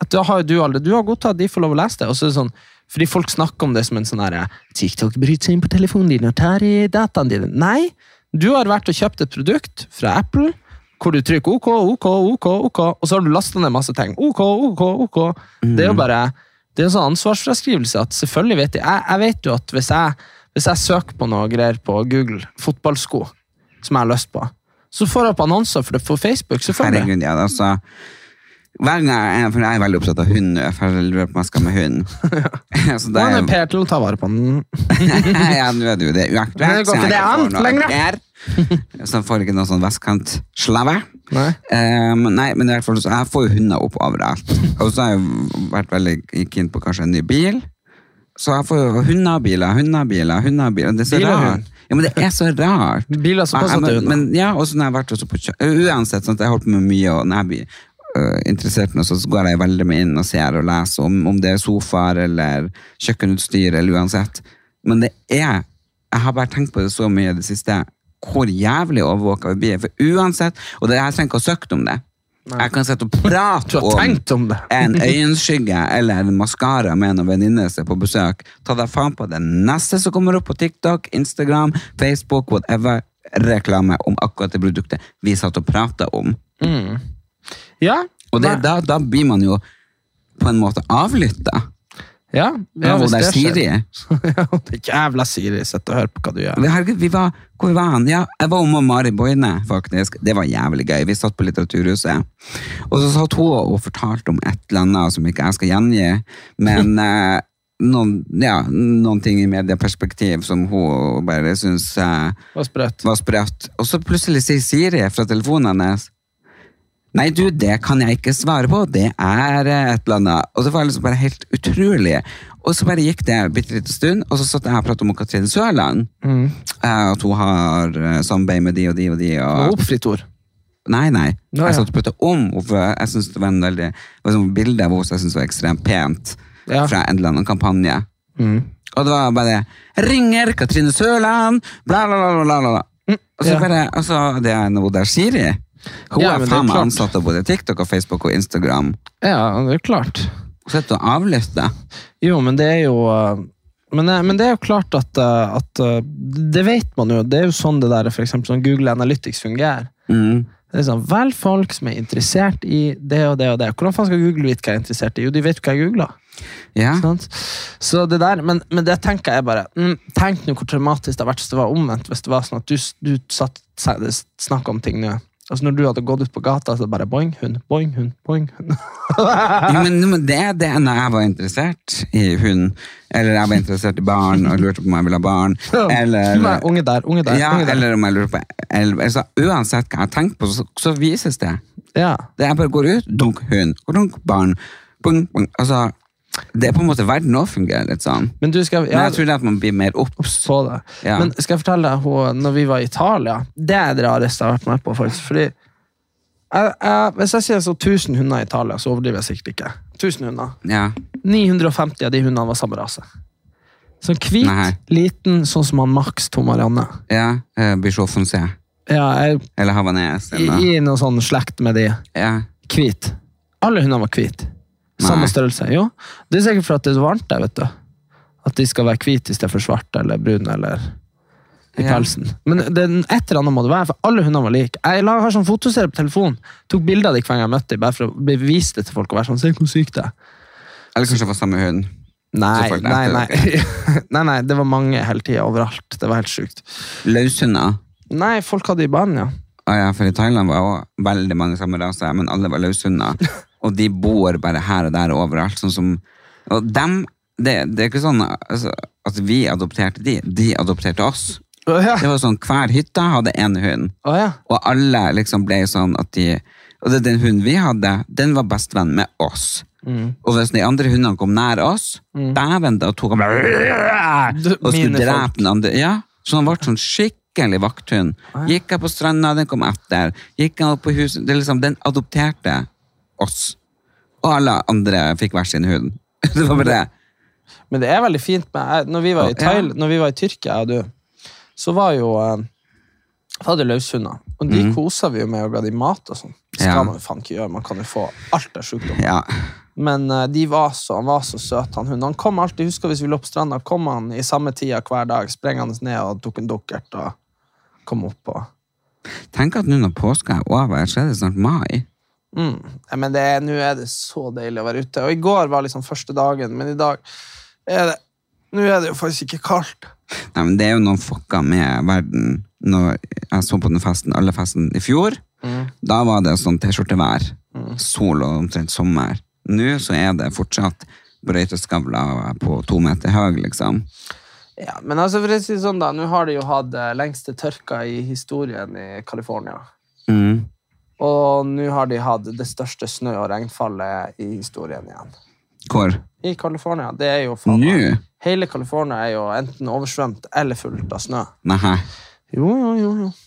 B: at da har jo du, aldri, du har godt av at de får lov å lese det. Og så er det sånn, fordi folk snakker om det som en sånn herre TikTok bryter seg inn på telefonen din og tar i dataene dine. Nei, du har vært og kjøpt et produkt fra Apple hvor du trykker OK, OK, OK, OK, og så har du lasta ned masse ting. OK, OK, OK. Det
A: Mm.
B: er jo bare det er en sånn ansvarsfraskrivelse at selvfølgelig vet jeg Jeg, jeg vet jo at hvis jeg, hvis jeg søker på noe greier på Google, fotballsko, som jeg har lyst på, så får jeg opp annonser for det på Facebook, selvfølgelig.
A: Herregud, ja, altså. Hver gang jeg, for jeg er veldig opptatt av hund, nå, for jeg lurer på om jeg skal med hund. Så det
B: Nå er
A: er,
B: det Per til å ta vare på den.
A: ja, nå er det jo det
B: Men det
A: uaktuelt.
B: går
A: så jeg
B: ikke det
A: får
B: an
A: noe
B: lenger.
A: der. Så jeg får ikke noe sånn vestkantsslave.
B: Nei.
A: Um, nei, men i hvert fall, så jeg får jo hunder opp overalt. Og så har jeg jo vært veldig keen på kanskje en ny bil. Så jeg får jo hunder og biler, hunder og biler, hunder og biler. Det er så
B: Bil og hund.
A: rart. Ja, men det er så rart.
B: Biler som passer
A: Ja,
B: til
A: men,
B: hunder.
A: men, ja, og så når jeg har vært også på kjø- Uansett, sånn at jeg holder på med mye, og når jeg blir øh, interessert i noe, så går jeg veldig med inn og ser og leser om, om det er sofaer eller kjøkkenutstyr eller uansett. Men det er Jeg har bare tenkt på det så mye i det siste, hvor jævlig overvåka vi blir. For uansett Og det, jeg trenger ikke å ha søkt om det. Jeg kan sitte og
B: Du
A: prate
B: har
A: om
B: tenkt om det.
A: en øyenskygge eller en maskara med en venninne som er på besøk. Ta deg faen på det neste som kommer opp på TikTok, Instagram, Facebook, whatever. Reklame om akkurat det produktet vi satt og prata om.
B: Ja.
A: Mm. Og det,
B: Nei.
A: da, da blir man jo på en måte avlytta.
B: Ja, ja,
A: og
B: hvis
A: der
B: skjer.
A: Siri
B: ja, det er jævla Siri, sitt og hør på hva du gjør.
A: Vi- Herregud, vi var, hvor var han? Ja, jeg var omme med Mari Boine, faktisk. Det var jævlig gøy. Vi satt på Litteraturhuset. Og så satt hun og fortalte om et eller annet som ikke jeg skal gjengi, men eh, noen, ja, noen ting i medieperspektiv som hun bare syns eh,
B: Det var sprøtt.
A: var sprøtt. Og så plutselig sier Siri fra telefonen hennes Nei, du, det kan jeg ikke svare på. Det er eh, et eller annet. Og det var liksom bare helt utrolig. Og så bare gikk det en bitte liten stund, og så satt jeg her og pratet om Katrine Sørland.
B: Mm.
A: Eh, At hun har eh, samarbeid med de og de og de. Og...
B: Og oppfritt ord.
A: Nei, nei.
B: Nå, ja.
A: Jeg satt og pratet om henne, for jeg synes det var en veldig det var sånn bilde av henne som jeg synes var ekstremt pent
B: Ja. Mm.
A: fra en eller annen kampanje. Og det var bare Ringer Katrine Sørland, bla, bla, bla, bla, bla. bla. Mm, Og så
B: Ja.
A: bare Altså, det er noe der Siri. Hun
B: Ja, men
A: er
B: det er
A: faen meg
B: klart.
A: ansatt av både TikTok og Facebook og Instagram.
B: Ja, det er klart.
A: Hun sitter og avlytter.
B: Jo, men det er jo eh, Men, eh, men det er jo klart at, eh, at eh, Det vet man jo. Det er jo sånn det der, for eksempel, sånn Google Analytics fungerer.
A: Mm.
B: Det er sånn, Velg folk som er interessert i det og det og det. Hvordan faen skal Google vite hva jeg er interessert i? Jo, de vet jo hva jeg googler.
A: Ja.
B: Sant? Så det der, men, men det tenker jeg bare mm, Tenk nå hvor traumatisk det hadde vært hvis det var omvendt. Hvis det var sånn at du, du satt snakka om ting nå. Altså Når du hadde gått ut på gata, så bare boing, hund, boing, hund, boing, hund.
A: Jo, men, men det er det når jeg var interessert i hund, eller jeg var interessert i barn og lurte på om jeg ville ha barn, eller,
B: Nei, unge der, unge der.
A: ja,
B: unge der.
A: eller om jeg lurer på eller, altså, Uansett hva jeg tenker på, så, så vises det.
B: Ja.
A: det. Jeg bare går ut, dunk hund, dunk barn, bung, bung. Altså, det er på en måte verden òg fungerer litt sånn.
B: Men du skal
A: Men
B: ja,
A: jeg tror det er at man blir mer obs.
B: på det.
A: Ja.
B: Men skal jeg fortelle deg hun, når vi var i Italia Det er det rareste jeg har vært med på, faktisk. Fordi jeg, jeg, hvis jeg sier så 1000 hunder i Italia, så overdriver jeg sikkert ikke. 1000 hunder.
A: Ja.
B: 950 av de hundene var samme rase. Sånn hvit,
A: Nei.
B: liten, sånn som han Max Tom Marianne.
A: ja eh, Bichot Foncé.
B: Ja, jeg
A: Eller Havanes.
B: i,
A: Eller,
B: i noe sånn slekt med de.
A: ja.
B: Hvit. Alle hundene var hvite.
A: Nei.
B: Samme størrelse. Jo, det er sikkert for at det er så varmt der, vet du. At de skal være hvite istedenfor svarte eller brune eller i
A: Ja.
B: pelsen. Men det, et eller annet må det være, for alle hundene var like. Jeg la- har sånn fotoserie på telefonen. Tok bilder av de hver gang jeg møtte dem, bare for å bevise det til folk. og være sånn, se hvor sykt det er.
A: eller kanskje det var samme hund. Så
B: Nei,
A: folk
B: nei,
A: lærte
B: nei. nei, nei, det var mange hele tida overalt. Det var helt sjukt.
A: Løshunder.
B: Nei, folk hadde i banen, ja.
A: Å Ah, ja, for i Thailand var også veldig mange samme rase, men alle var løshunder. Og de bor bare her og der og overalt. Sånn som, og dem, det, det er ikke sånn altså, at vi adopterte de, de adopterte oss.
B: Å ja.
A: Det var sånn, Hver hytte hadde én hund,
B: Å ja.
A: og alle liksom ble sånn at de Og det, den hunden vi hadde, den var bestevenn med oss.
B: Mm.
A: Og hvis de andre hundene kom nær oss, dæven, da tok han bare Og skulle
B: Mine folk.
A: drepe den andre. Ja, så han ble sånn skikkelig vakthund. Gikk jeg på stranda, den kom etter. Gikk jeg opp på huset, det er liksom, den adopterte oss. Og alle andre fikk hver sin hund. Det var bare det.
B: Men det er veldig fint med jeg- Når vi var i,
A: Ja.
B: Thail, når vi var i Tyrkia, jeg og du, så var jo eh, jeg hadde løshunder. Og de kosa vi jo med og ga de mat og sånn. Det skal
A: Mhm. Ja.
B: man jo faen ikke gjøre. Man kan jo få alt av sjukdom.
A: Ja.
B: Men eh, de var så, han var så søt, han hunden. Han kom alltid, husker hvis vi lå på stranda, kom han i samme tida hver dag, sprengende ned og tok en dukkert og kom opp og
A: Tenk at nå når påska er over, så er det snart mai.
B: Mm. Nei, Men det er- nå er det så deilig å være ute. Og i går var liksom første dagen, men i dag er det Nå er det jo faktisk ikke kaldt.
A: Nei, men det er jo noen fucka med verden. Når jeg så på den festen, alle festen i fjor,
B: Mm.
A: da var det sånn T-skjortevær. Sol og omtrent sommer. Nå så er det fortsatt brøyteskavler på to meter høy, liksom.
B: Ja, men altså for å si det sånn da, nå har de jo hatt eh, lengste tørka i historien i California.
A: Mm.
B: Og nå har de hatt det største snø- og regnfallet i historien igjen.
A: Hvor?
B: I California. Det er jo faen
A: Nå?
B: Hele California er jo enten oversvømt eller fullt av snø.
A: Nei.
B: Jo, jo, jo. jo. Mm.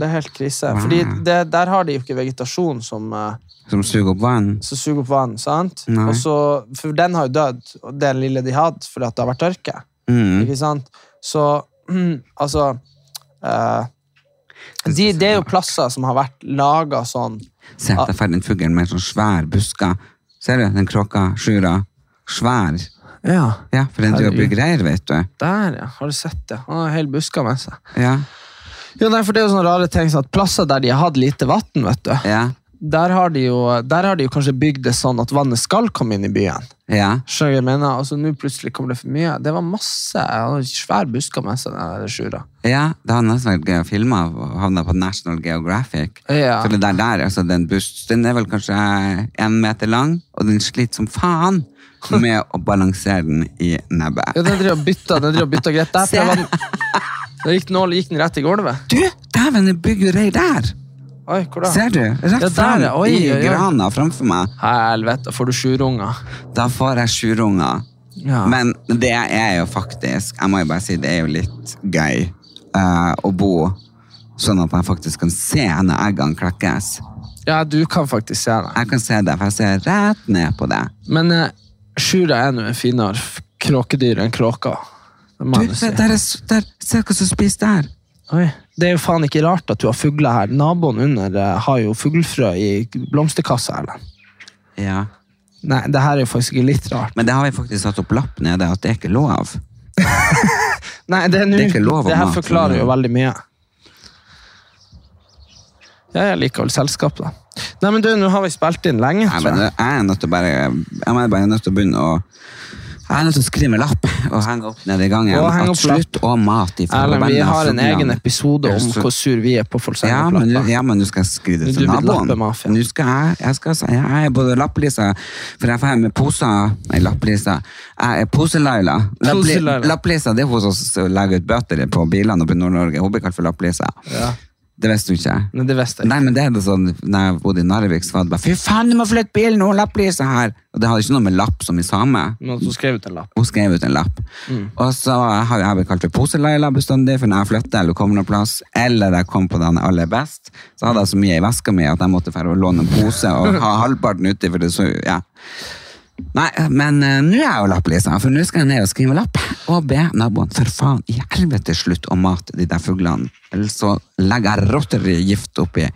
B: Det er helt krise. Fordi det, der har de jo ikke vegetasjon som eh,
A: Som suger opp vann?
B: som suger opp vann. sant?
A: Nei.
B: Og så, for den har jo dødd, og den lille de hadde, fordi at det har vært tørke.
A: Mm.
B: ikke sant? Så altså eh, de, Det er jo plasser som har vært laga sånn.
A: Se, der fer den fuglen med sånn svær busker. Ser du den kråka? Sjura? Svær.
B: Ja,
A: Ja, for den driver og
B: Herregud.
A: bygger reir, vet du.
B: der, ja. Har du sett det? Han har hele buska med seg.
A: Ja.
B: Jo, nei, for det er jo sånne rare ting sånn at Plasser der de har hatt lite vann, vet du,
A: Ja.
B: der har de jo, der har de jo kanskje bygd det sånn at vannet skal komme inn i byen.
A: Ja.
B: Skjønner du hva jeg mener? Altså, Nå plutselig kom det for mye. Det var masse. Han hadde svær busker med seg, den der sjura.
A: Ja, det har nesten vært gøy å filme av og havna på National Geographic.
B: Ja.
A: For det der, der altså den buss, den er vel kanskje en meter lang, og den sliter som faen med å balansere den i
B: Ja,
A: nebbet.
B: den driver og bytter, den driver og bytter greit. Der
A: Se.
B: prøver den. Da gikk, nål, gikk den rett i gulvet.
A: Du, dæven, det bygger reir der!
B: Oi, hvor da?
A: Ser du? Rett
B: Ja, der,
A: fram
B: ja. Oi,
A: i
B: oi, oi.
A: grana framfor meg.
B: Helvete, får du sjurunger?
A: Da får jeg sjurunger.
B: Ja.
A: Men det er jo faktisk, jeg må jo bare si, det er jo litt gøy eh, å bo sånn at jeg faktisk kan se når eggene klekkes.
B: Ja, du kan faktisk se det.
A: Jeg kan se det, for jeg ser rett ned på det.
B: Men eh, sjura er nå en finere f- kråkedyr enn kråka. Det må
A: Du,
B: jeg jo
A: se,
B: si.
A: der er, s- der, se hva som spiser der.
B: Oi. Det er jo faen ikke rart at du har fugler her. Naboen under eh, har jo fuglefrø i blomsterkassa. Eller? Nei, det her er jo faktisk ikke litt rart.
A: Men det har vi faktisk satt opp lapp nede, at det er ikke lov.
B: Nei, det er nå.
A: Det er ikke lov å
B: Det her
A: mate.
B: forklarer jo veldig mye. Ja, jeg liker vel selskap, da. Nei, men du, nå har vi spilt inn lenge,
A: Nei, men
B: tror jeg.
A: det- jeg er nødt til å bare Jeg er bare nødt til å begynne å jeg er nødt til å skrive med lapp og henge opp nede i gangen.
B: Og henge
A: at
B: opp
A: slutt
B: lapp.
A: og mat i
B: Erlend, vi
A: forbanna
B: har en
A: fuglene.
B: egen episode om hvor sur vi er på folk som
A: ja,
B: er på
A: men,
B: lapper.
A: nå- ja, men nå skal jeg skrive det
B: Du
A: til
B: blir
A: naboen.
B: lappemafia.
A: Nå skal jeg, jeg, skal, si- jeg er både lapplisa, for jeg får med poser Nei, lapplisa. Jeg er poselaila. Lappli,
B: Poselaila.
A: lapplisa det er hun som legger ut bøter på bilene oppe i Nord-Norge. Hun blir kalt for lapplisa.
B: Ja.
A: Det visste du ikke.
B: Nei, det visste jeg
A: Nei, men det er det sånn, når jeg bodde i Narvik, så var det bare, fy faen, du må flytte bilen, hun lapplisa her. Og det hadde ikke noe med lapp som i same.
B: Men at hun skrev ut en lapp.
A: Hun skrev ut en lapp. Og så har jeg blitt kalt for poseleila bestandig, for når jeg flytter eller kommer noen plass, eller jeg kom på den jeg aller best, så hadde jeg så mye i veska mi at jeg måtte fære og låne en pose og ha halvparten uti, for det så ja. Nei, men eh, nå er jeg jo lapplisa, for nå skal jeg ned og skrive lapp og be naboen for faen i helvete slutt å mate de der fuglene. Ellers så legger jeg rotter i gift oppi.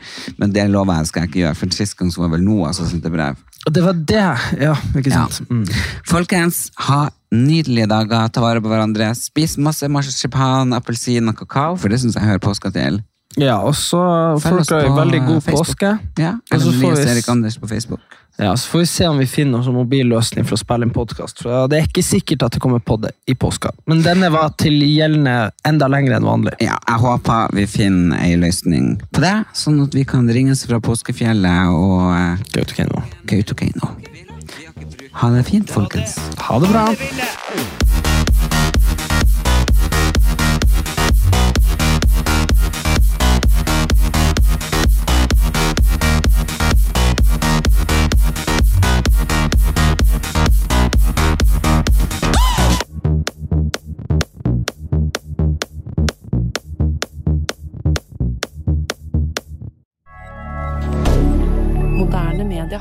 A: Men det lover jeg skal jeg ikke gjøre, for sist gang så var det vel Noah som sendte brev.
B: Og det var det! Ja, ikke sant?
A: Ja.
B: Mm.
A: Altså. Folkens, ha nydelige dager, ta vare på hverandre. Spis masse marsipan, appelsin og kakao, for det syns jeg hører påska til.
B: ja og så
A: Følg
B: får
A: oss
B: dere
A: på
B: en veldig god
A: Facebook.
B: påske.
A: Ja,
B: Og så
A: Ellen
B: får
A: Elias
B: vi-
A: Erik Anders på Facebook.
B: Ja, Så får vi se om vi finner noen mobilløsning for å spille en podkast. Det er ikke sikkert at det kommer podd i påska, men denne var til gjeldende enda lenger enn vanlig.
A: Ja, jeg håper vi finner ei løsning på det, sånn at vi kan ringes fra påskefjellet og eh,
B: Kautokeino.
A: Kautokeino. Ha det fint, folkens.
B: Ha det bra!
C: Moderne media.